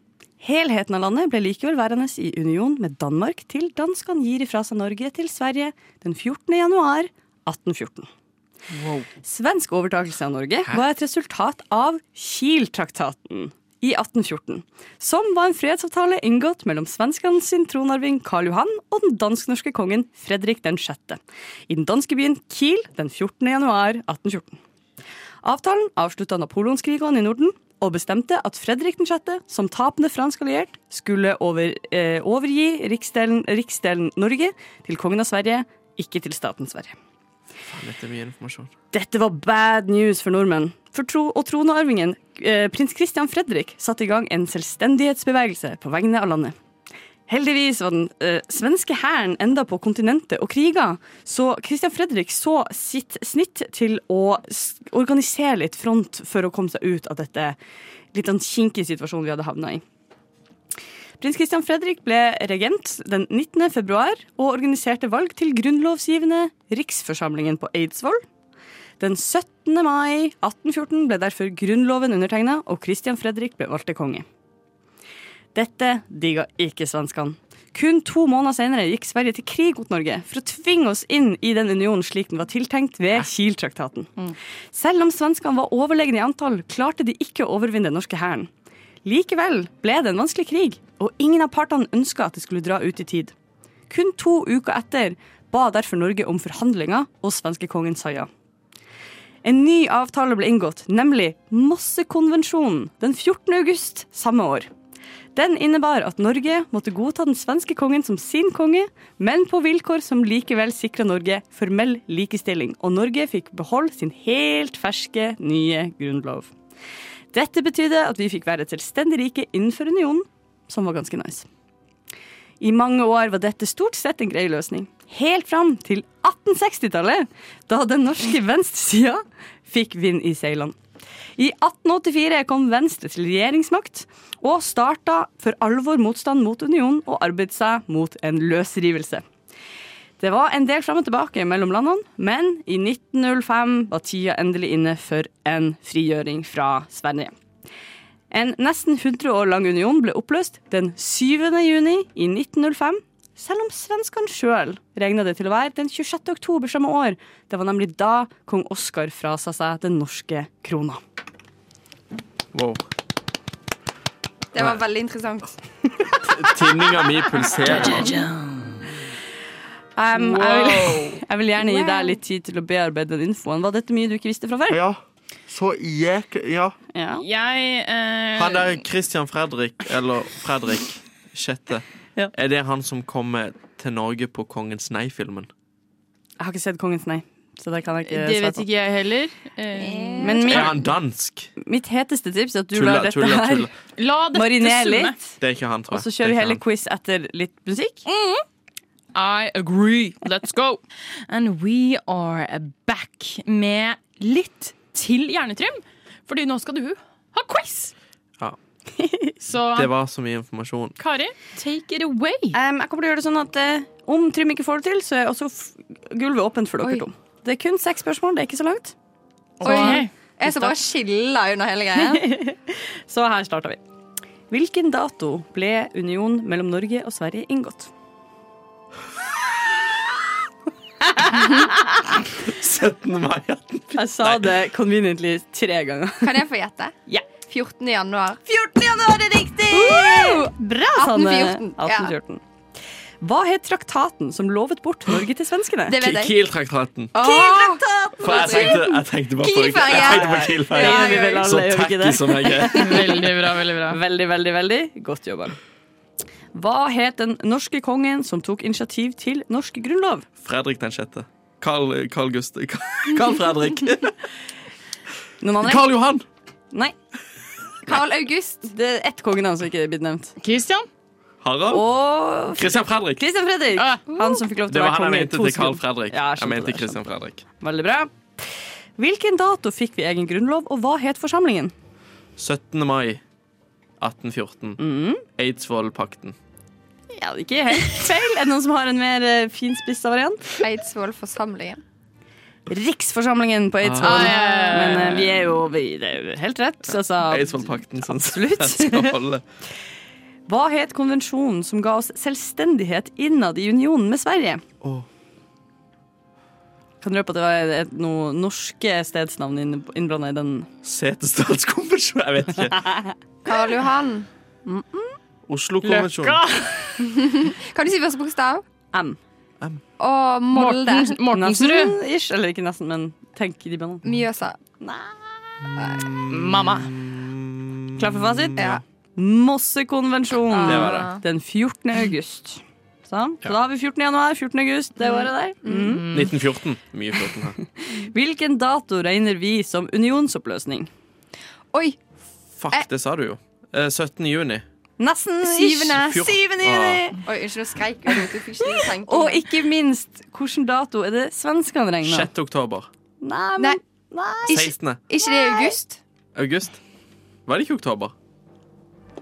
F: Helheten av landet ble likevel værende i union med Danmark til danskene gir ifra seg Norge til Sverige den 14. januar 1814. Svensk overtakelse av Norge var et resultat av Kiel-traktaten i 1814, som var en fredsavtale inngått mellom svenskene sin tronarving Karl Johan og den dansk-norske kongen Fredrik den 6. i den danske byen Kiel den 14. januar 1814. Avtalen avslutta napoleonskrigene i Norden og bestemte at Fredrik 6., som tapende fransk alliert, skulle over, eh, overgi riksdelen, riksdelen Norge til kongen av Sverige, ikke til staten Sverige.
B: Dette er mye informasjon.
F: Dette var bad news for nordmenn. For tro og tronarvingen, eh, prins Christian Fredrik, satte i gang en selvstendighetsbevegelse på vegne av landet. Heldigvis var den eh, svenske hæren enda på kontinentet og kriga, så Christian Fredrik så sitt snitt til å s- organisere litt front for å komme seg ut av dette litt sånn kinkige situasjonen vi hadde havna i. Prins Christian Fredrik ble regent den 19. februar og organiserte valg til grunnlovsgivende riksforsamlingen på Eidsvoll den 17. mai 1814 ble derfor grunnloven undertegna, og Christian Fredrik ble valgt til konge. Dette digga ikke svenskene. Kun to måneder senere gikk Sverige til krig mot Norge for å tvinge oss inn i den unionen slik den var tiltenkt ved Kiel-traktaten. Selv om svenskene var overlegne i antall, klarte de ikke å overvinne den norske hæren. Likevel ble det en vanskelig krig, og ingen av partene ønska at det skulle dra ut i tid. Kun to uker etter ba derfor Norge om forhandlinger, og svenskekongen sa ja. En ny avtale ble inngått, nemlig Mossekonvensjonen, den 14. august samme år. Den innebar at Norge måtte godta den svenske kongen som sin konge, men på vilkår som likevel sikra Norge formell likestilling, og Norge fikk beholde sin helt ferske nye grunnlov. Dette betydde at vi fikk være et selvstendig rike innenfor unionen, som var ganske nice. I mange år var dette stort sett en grei løsning. Helt fram til 1860-tallet, da den norske venstresida fikk vind i seilene. I 1884 kom Venstre til regjeringsmakt og starta for alvor motstand mot unionen og arbeidet seg mot en løsrivelse. Det var en del fram og tilbake mellom landene, men i 1905 var tida endelig inne for en frigjøring fra Sverige. En nesten 100 år lang union ble oppløst den 7. juni i 1905, selv om svenskene sjøl regna det til å være den 26. oktober samme år. Det var nemlig da kong Oskar frasa seg den norske krona.
B: Wow.
G: Det var veldig interessant.
B: Tinninga mi pulserer.
F: Um, jeg, vil, [LAUGHS] jeg vil gjerne gi deg litt tid til å bearbeide den infoen. Var dette mye du ikke visste fra før?
B: Ja. Så jæk... Ja.
F: Ja.
E: Jeg eh,
B: Han der Christian Fredrik, eller Fredrik Sjette,
F: Ja.
B: er det han som kommer til Norge på Kongens nei-filmen?
F: Jeg har ikke sett Kongens nei, så det
B: eh,
F: kan jeg ikke
E: Det
F: svare
E: vet
F: på.
E: ikke jeg heller. Eh,
F: Men
B: Er
F: min,
B: han dansk?
F: mitt heteste tips er at du lar
B: Tulla,
F: dette
B: tulla,
F: her
B: tulla.
E: la dette
F: marinere
E: sunne.
F: litt,
B: Det er ikke han, tror
F: og
B: jeg.
F: så
B: Det
F: kjører vi
B: er
F: hele
B: ikke
F: quiz etter litt musikk.
E: I agree. Let's go. And we are back med litt til Hjernetrym, fordi nå skal du ha quiz.
B: Ja.
E: [LAUGHS] Så
B: han. Det var så mye informasjon.
E: Kari, take it away.
F: Um, jeg kommer til å gjøre det sånn at eh, om Trym ikke får det til, så er også f gulvet åpent for dere
G: Oi.
F: to. Det er kun seks spørsmål, det er ikke så langt.
E: Oi.
G: Jeg som bare skiller under hele greia.
F: Så her starter vi. Hvilken dato ble union mellom Norge og Sverige inngått? Jeg sa det conveniently tre ganger.
G: Kan jeg få gjette?
F: Ja.
G: 14. januar. 14. januar er riktig!
F: [LAUGHS] Bra,
G: 1814. Ja.
F: 1814. Hva het traktaten som lovet bort Norge til svenskene?
G: Det vet jeg.
B: Kiel-traktaten.
G: Åh,
B: For jeg tenkte, jeg tenkte bare på jeg tenkte på
F: Det
B: Kiel-ferja.
F: gjør vi
B: Så
F: vel alle, gjør vi ikke
B: tacky
F: det?
B: som jeg er.
F: [LAUGHS]
E: Veldig bra, veldig bra.
F: Veldig, veldig, veldig godt jobba. Hva het den norske kongen som tok initiativ til norsk grunnlov?
B: Fredrik den sjette. Carl, Carl Gust... Carl
F: [LAUGHS]
B: Fredrik.
F: Noen andre?
B: Carl Johan!
F: Nei.
G: Karl August.
F: Det er ett kongenavn som ikke er blitt nevnt.
E: Christian?
B: Harald?
F: Og
B: Christian Fredrik.
F: Christian Fredrik!
E: Ah.
F: Han som fikk lov
B: Det
F: til å
B: var
F: være
B: han jeg
F: konge i
B: mente
F: to
B: til Carl
F: sekunder.
B: Fredrik.
F: Ja, jeg
B: Jeg
F: skjønte
B: mente
F: det, jeg
B: Christian Fredrik.
F: Veldig bra. Hvilken dato fikk vi egen grunnlov, og hva het forsamlingen?
B: 17. mai 1814. Eidsvollpakten.
F: Ja, det er ikke helt feil. Er det noen som har en mer eh, finspissa variant?
G: Eidsvollforsamlingen.
F: Riksforsamlingen på Eidsvoll.
E: Ah, ja, ja, ja.
F: Men eh, vi er jo vi, det er jo helt rett. Altså,
B: Eidsvollpakten, sånn som den [LAUGHS]
F: absolutt.
B: skal holde.
F: Hva het konvensjonen som ga oss selvstendighet innad i unionen med Sverige?
B: Åh.
F: Kan røpe at det var et, noe norske stedsnavn innblanda i den.
B: Setesdalskonvensjon Jeg vet ikke.
G: Karl Johan.
B: Oslo-konvensjonen.
G: Kan du si første bokstav?
F: M.
G: Og Molde.
E: Morten- Mortensrud.
F: Ish, eller ikke nesten, men tenk i de banene.
G: Mjøsa.
E: Mamma.
F: Klar for fasit?
G: Ja.
F: Mossekonvensjonen.
B: Det var det.
F: Den 14. august. Sånn. Så da har vi 14. januar, 14. august, det året der. Mm.
B: 1914. Mye 14 her.
F: Hvilken dato regner vi som unionsoppløsning?
G: Oi.
B: Fuck, det sa du jo. Eh, 17. juni.
F: Nesten ish.
G: Syvende.
B: Fjort-
F: Syvende juni.
B: Ah.
G: Oi, unnskyld, nå skreik jeg. vet du, fikk ikke tenke.
F: Og ikke minst, hvilken dato er det svenskene
B: Ah,
F: regner?
B: 6. oktober.
F: Nei, men-
G: Nei, ikke,
B: 16.
G: ikke det i [LAUGHS] august?
B: august. Var det ikke oktober?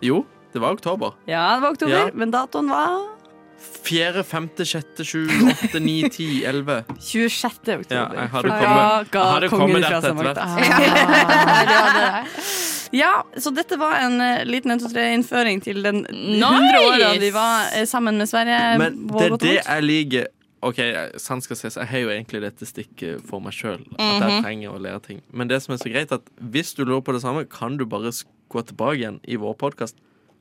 B: Jo, det var oktober.
F: Ja, det var oktober,
B: Ja.
F: men datoen var
B: 4., 5., 6., 7., 8., 9., 10., 11.
F: 26. oktober.
B: Ja, jeg hadde
F: For
B: kommet-
F: da ga
B: jeg hadde
F: kongen
B: kommet
F: fra
B: rett
F: seg
B: etter
F: makta.
G: Nei, det var det.
F: Ja, så dette var en eh, liten 1-2-3-innføring til den
E: Nice!
F: 100 åra vi var eh, sammen med Sverige.
B: Men
F: på
B: det er
F: godt og
B: det
F: vondt.
B: jeg liker OK, sant skal sies, jeg har jo egentlig dette stikket for meg sjøl. At
F: Mhm.
B: jeg trenger å lære ting. Men det som er så greit, at hvis du lurer på det samme, kan du bare sk- gå tilbake igjen i vår podkast.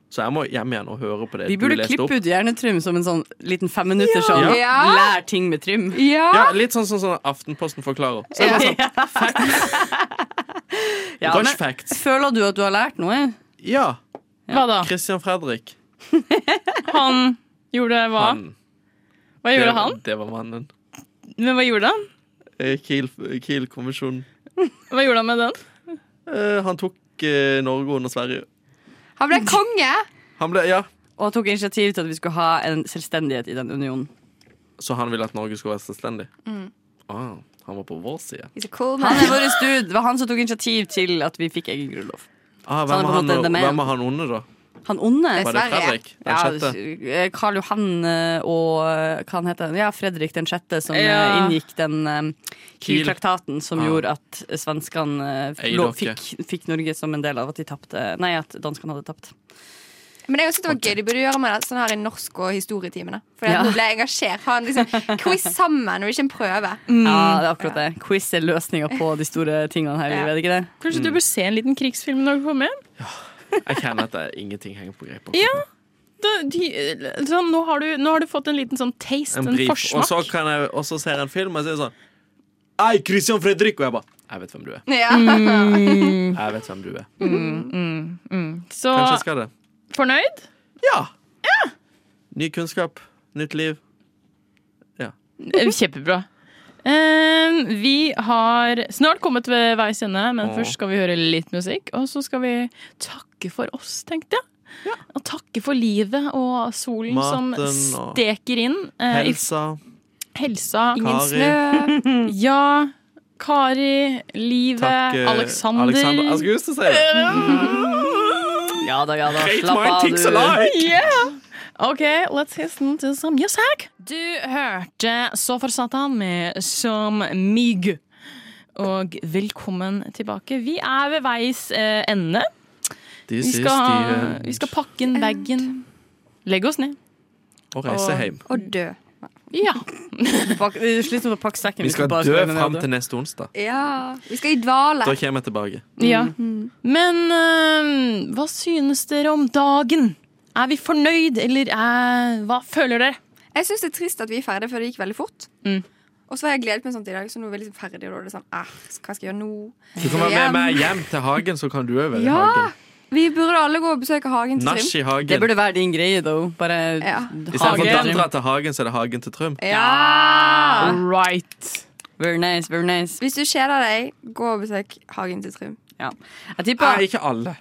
B: Så jeg må hjem igjen og høre på det
F: Vi
B: du
F: burde
B: leste opp.
F: klippe ut Hjernetrym som en sånn liten femminutter sånn
G: Ja.
F: lær ting med Trym.
B: Ja, litt sånn som sånn, Aftenposten forklarer. Så er det sånn,
F: Ja,
B: Rush
F: men-
B: facts.
F: Føler du at du har lært noe?
B: Ja,
E: Hva da?
B: Christian Fredrik.
E: Han gjorde hva?
B: Han.
E: Hva
B: Det,
E: gjorde han?
B: det var mannen.
E: Men hva gjorde han?
B: Eh, Kiel- Kiel-konvensjonen.
E: Hva gjorde han med den?
B: Eh, han tok eh, Norge under Sverige.
G: Han ble konge!
B: Han ble, ja.
F: Og tok initiativ til at vi skulle ha en selvstendighet i den unionen.
B: Så han ville at Norge skulle være selvstendig?
F: Mm.
B: Ah, han var på vår side.
G: He's a cool
F: Han
G: man.
F: er vår dude. Det var han som tok initiativ til at vi fikk egen grunnlov.
B: Ah, hvem,
F: Så han er på
B: var
F: en
B: han,
F: måte the man.
B: hvem var han onde, da?
F: Han onde.
B: Var det
G: Sverige.
B: Fredrik? Den
F: Ja,
B: sjette?
F: eh, Karl Johan eh, og eh, hva han heter han? Ja, Fredrik den sjette, som eh,
E: Ja.
F: inngikk den eh,
B: Kiel.
F: Kiel-traktaten som
B: Ah.
F: gjorde at svenskene eh,
B: Eide
F: lå-
B: dere.
F: fikk, fikk Norge som en del av at de tapte Nei, at danskene hadde tapt.
G: Men jeg synes det var gøy de burde gjøre med det sånn her i norsk og historietimene. For
F: Ja.
G: nå ble jeg engasjert. Ha en liksom, quiz sammen og ikke en prøve.
F: Ja, det er akkurat det. Quiz er løsninga på de store tingene her i livet, er det ikke det?
E: Kanskje
B: Mm.
E: du bør se en liten krigsfilm når du kommer hjem?
B: Jeg kjenner at det er ingenting henger på greip.
E: Ja. Da, de, sånn, nå, har du, nå har du fått en liten sånn taste,
B: En
E: en,
B: brief. Og
E: forsmak.
B: så kan jeg også se en film og si sånn Ei, Christian Fredrik! Og jeg bare Jeg vet hvem du er.
G: Ja.
B: Jeg vet hvem du er.
E: Så,
B: Kanskje jeg skal det.
E: fornøyd?
B: Ja! Ny kunnskap, nytt liv.
E: Eh, Kjempebra. Eh, vi har snart kommet ved veis ende, men
B: Åh.
E: først skal vi høre litt musikk. Og så skal vi takke for oss, tenkte jeg. Og takke for livet og solen
B: Maten
E: som
B: og-
E: steker inn. eh,
B: Helsa,
E: I helsa.
G: Ingen
B: Kari.
G: snø.
E: Ja. Kari. Livet.
B: takk eh,
E: Alexander.
B: Alexander. Jeg skulle just til å si det.
F: Ja da, ja da.
B: Great
F: Slapp
B: mind
F: av,
B: thinks
F: du.
B: alike!
E: Yeah! Ok, let's listen to some music. Du hørte Så for Satan med Som Mig. Og velkommen tilbake. Vi er ved veis eh, ende. Vi
B: This is
E: skal, ha,
B: the end.
E: vi skal pakke inn bagen. Legge oss ned.
B: Og reise hjem.
G: Og dø.
E: Ja.
F: Pak- Slutt med å pakke sekken.
B: Vi skal
F: bare
B: dø
F: spille med
B: fram
F: hverandre.
B: til neste onsdag.
G: Ja. Vi skal i dvale.
B: Da kommer jeg tilbake.
E: Mm. Men eh, hva synes dere om dagen? Er vi fornøyd, eller eh, hva føler dere?
G: Jeg syns det er trist at vi er ferdige, for det gikk veldig fort.
E: Mm.
G: Og så har jeg gledet meg sånn til i dag, så nå er vi liksom ferdige. Og da er det sånn, ah, hva skal jeg gjøre nå?
B: Du kan være med meg hjem til hagen, så kan du òg være i
G: Ja!
B: hagen.
G: Vi burde alle gå og besøke hagen til
B: Nach
G: Trym.
B: i
F: Det
B: hagen.
F: burde være din greie, though. Bare
G: Ja.
B: Istedenfor
E: Hagen.
B: Dandra til hagen, så er det hagen til Trym.
G: Ja!
E: Right.
F: Very nice, very nice.
G: Hvis du kjeder deg, gå og besøk hagen til Trym.
F: Ja. Jeg tipper
B: Nei, ikke alle.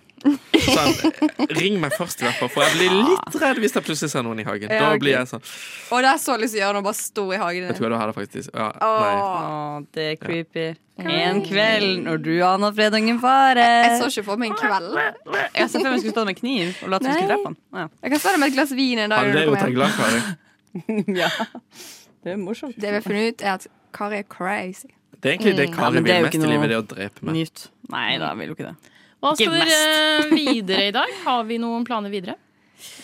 B: Sånn, ring meg først, i hvert fall, for jeg blir litt redd hvis det plutselig ser noen i hagen.
G: Ja,
B: Da
G: ok.
B: blir jeg sånn
G: Og det er så lyst til å gjøre noe, bare stå i hagen
B: Jeg
G: din.
B: tror du har det faktisk ja, nei.
G: Åh.
F: Å, det er creepy. En kveld når du aner fredagen fare.
G: Jeg så ikke for meg en kveld.
F: Jeg så for meg vi skulle stå med kniv og late som vi skulle drepe han. Å,
G: Jeg kan stå der med et glass vin en dag.
B: Han
G: når
B: ble
G: du
B: jo
G: kommer
B: til
G: hjem.
B: glad, Kari.
F: [LAUGHS] Ja. Det er morsomt.
G: Det vi har funnet ut, er at Kari er crazy.
B: Det er egentlig det
F: Ja,
B: Kari
F: men det er
B: vil
F: jo
B: mest
F: ikke
B: i
F: noe
B: livet, det er å drepe meg.
F: Nyt. Nei da, vil jo ikke det.
E: Hva
F: Ikke
E: står eh, videre i dag? Har vi noen planer videre?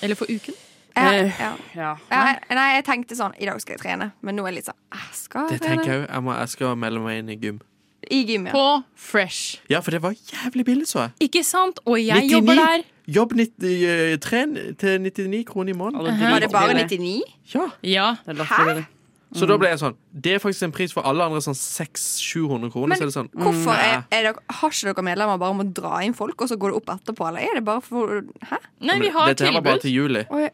E: Eller for uken?
G: Jeg,
F: Eh,
G: ja.
F: Ja.
G: jeg, nei, jeg tenkte sånn I dag skal jeg trene, men nå er jeg litt sånn ah, Skal
B: Det
G: jeg
B: tenker
G: trene?
B: jeg òg. Jeg, må- jeg skal melde meg inn i gym.
G: I gym, ja.
E: På Fresh.
B: Ja, for det var jævlig billig, så jeg.
E: Ikke sant? Og jeg
B: 99.
E: jobber der.
B: Jobb 90, eh, tren til 99 kroner i måneden.
G: Var det bare 99?
B: Ja.
E: Ja.
F: Hæ?
B: Så da ble jeg sånn Det er faktisk en pris for alle andre sånn 600-700 kroner.
G: Men
B: så er det sånn
G: Hvorfor er,
B: nei.
G: er dere, Har ikke dere medlemmer bare om å dra inn folk, og så går det opp etterpå? Eller er det bare for Hæ?
E: Nei, vi har
B: Dette her var bare
E: tilbud.
B: til juli.
G: Oi.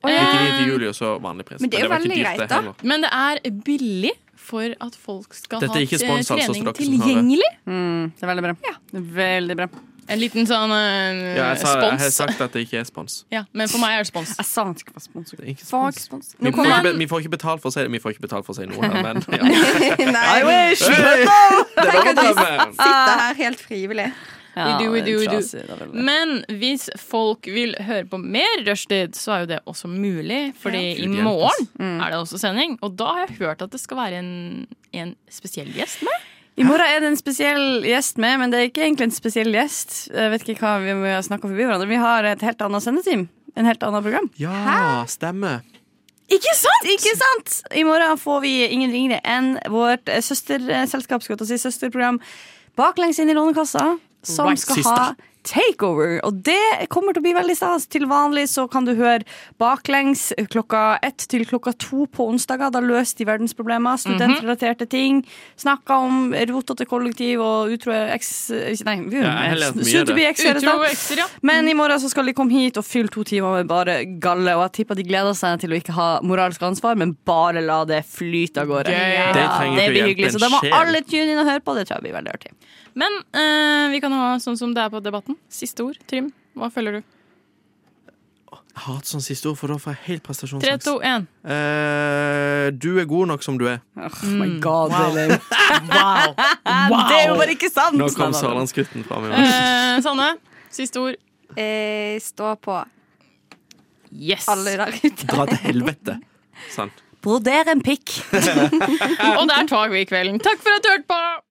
B: 99
E: Eh,
B: til juli, og så vanlig pris.
G: Um, Men det er jo
B: var ikke
G: veldig
B: dyrt,
G: greit,
B: det
G: da.
B: heller.
E: Men det er billig for at folk skal
B: Dette
E: ha
B: er ikke
E: eh,
B: spons, altså, for dere som
E: trening
B: hører.
E: tilgjengelig.
F: Mm, det er veldig bra. Det er Veldig bra.
E: En liten sånn eh,
B: Ja, jeg, sa, jeg har
E: spons.
B: sagt at det ikke er spons.
E: Ja, men for meg er det spons.
F: Jeg sa han skulle være sponsor.
B: Det er ikke
G: Fuck,
B: spons.
G: spons.
B: Vi
G: Nå
B: får,
G: kommer [LAUGHS]
B: ikke,
G: han.
B: be- vi får ikke betalt for å si det. Vi får ikke betalt for å si noe her,
G: [LAUGHS]
B: men ja.
G: Nei,
B: Hey! Det var drømmen.
G: sitter her helt frivillig.
F: Ja,
E: We do, we
F: det er
E: do, we do.
F: trasig, det er veldig-
E: Men hvis folk vil høre på mer rushtid, så er jo det også mulig. Fordi
B: Ja.
E: i
B: Gud hjelpes.
E: morgen er det også sending, og da har jeg hørt at det skal være en, en spesiell gjest med.
F: I morgen er det en spesiell gjest med, men det er ikke egentlig en spesiell gjest. Jeg vet ikke hva vi må snakke om forbi hverandre. Vi har et helt annet sendeteam. En helt annet program.
B: Ja, stemmer.
F: Ikke sant? Ikke sant? I morgen får vi ingen ringere enn vårt eh, søsterselskap, skal jeg til å si, søsterprogram Baklengs inn i Lånekassa, som
E: Right,
F: skal
E: sista.
F: ha Takeover. Og det kommer til å bli veldig stas. Til vanlig så kan du høre baklengs klokka ett til klokka to på onsdager. Da løser de verdensproblemer, studentrelaterte
B: Mhm.
F: ting. Snakker om rotete kollektiv og utro eks... Nei,
B: Ja, jeg har lært mye av
F: soon to be
B: det.
E: Utro og
F: ekskjærester.
E: ekser, ja.
F: Men
B: Mm.
F: i morgen så skal de komme hit og fylle to timer med bare galle. Og jeg tipper de gleder seg til å ikke ha moralsk ansvar, men bare la det flyte av gårde.
E: Gøy.
B: Det trenger
F: det
B: ikke å
F: blir
B: hjelpe
F: hyggelig,
B: en
F: så da må
B: sjel.
F: alle tune inn og høre på. Det tror jeg blir veldig artig.
E: Men eh, vi kan ha sånn som det er på Debatten. Siste ord. Trym, hva føler du?
B: Jeg hater sånn siste ord, for da får jeg helt
E: Tre,
B: prestasjonsangst.
E: to, én.
B: Eh, du er god nok som du er.
F: Oh my god, [LAUGHS] Elin. Det er jo bare ikke sant!
B: Nå kom
F: Nei, nei, nei.
B: sørlandsgutten fram. i meg.
E: Eh, Sanne, siste ord.
G: Eh, stå på,
E: Yes.
G: alle der ute.
B: Dra til helvete. Sånn.
F: Broder en pikk.
E: Og der tar vi kvelden. Takk for at du hørte på!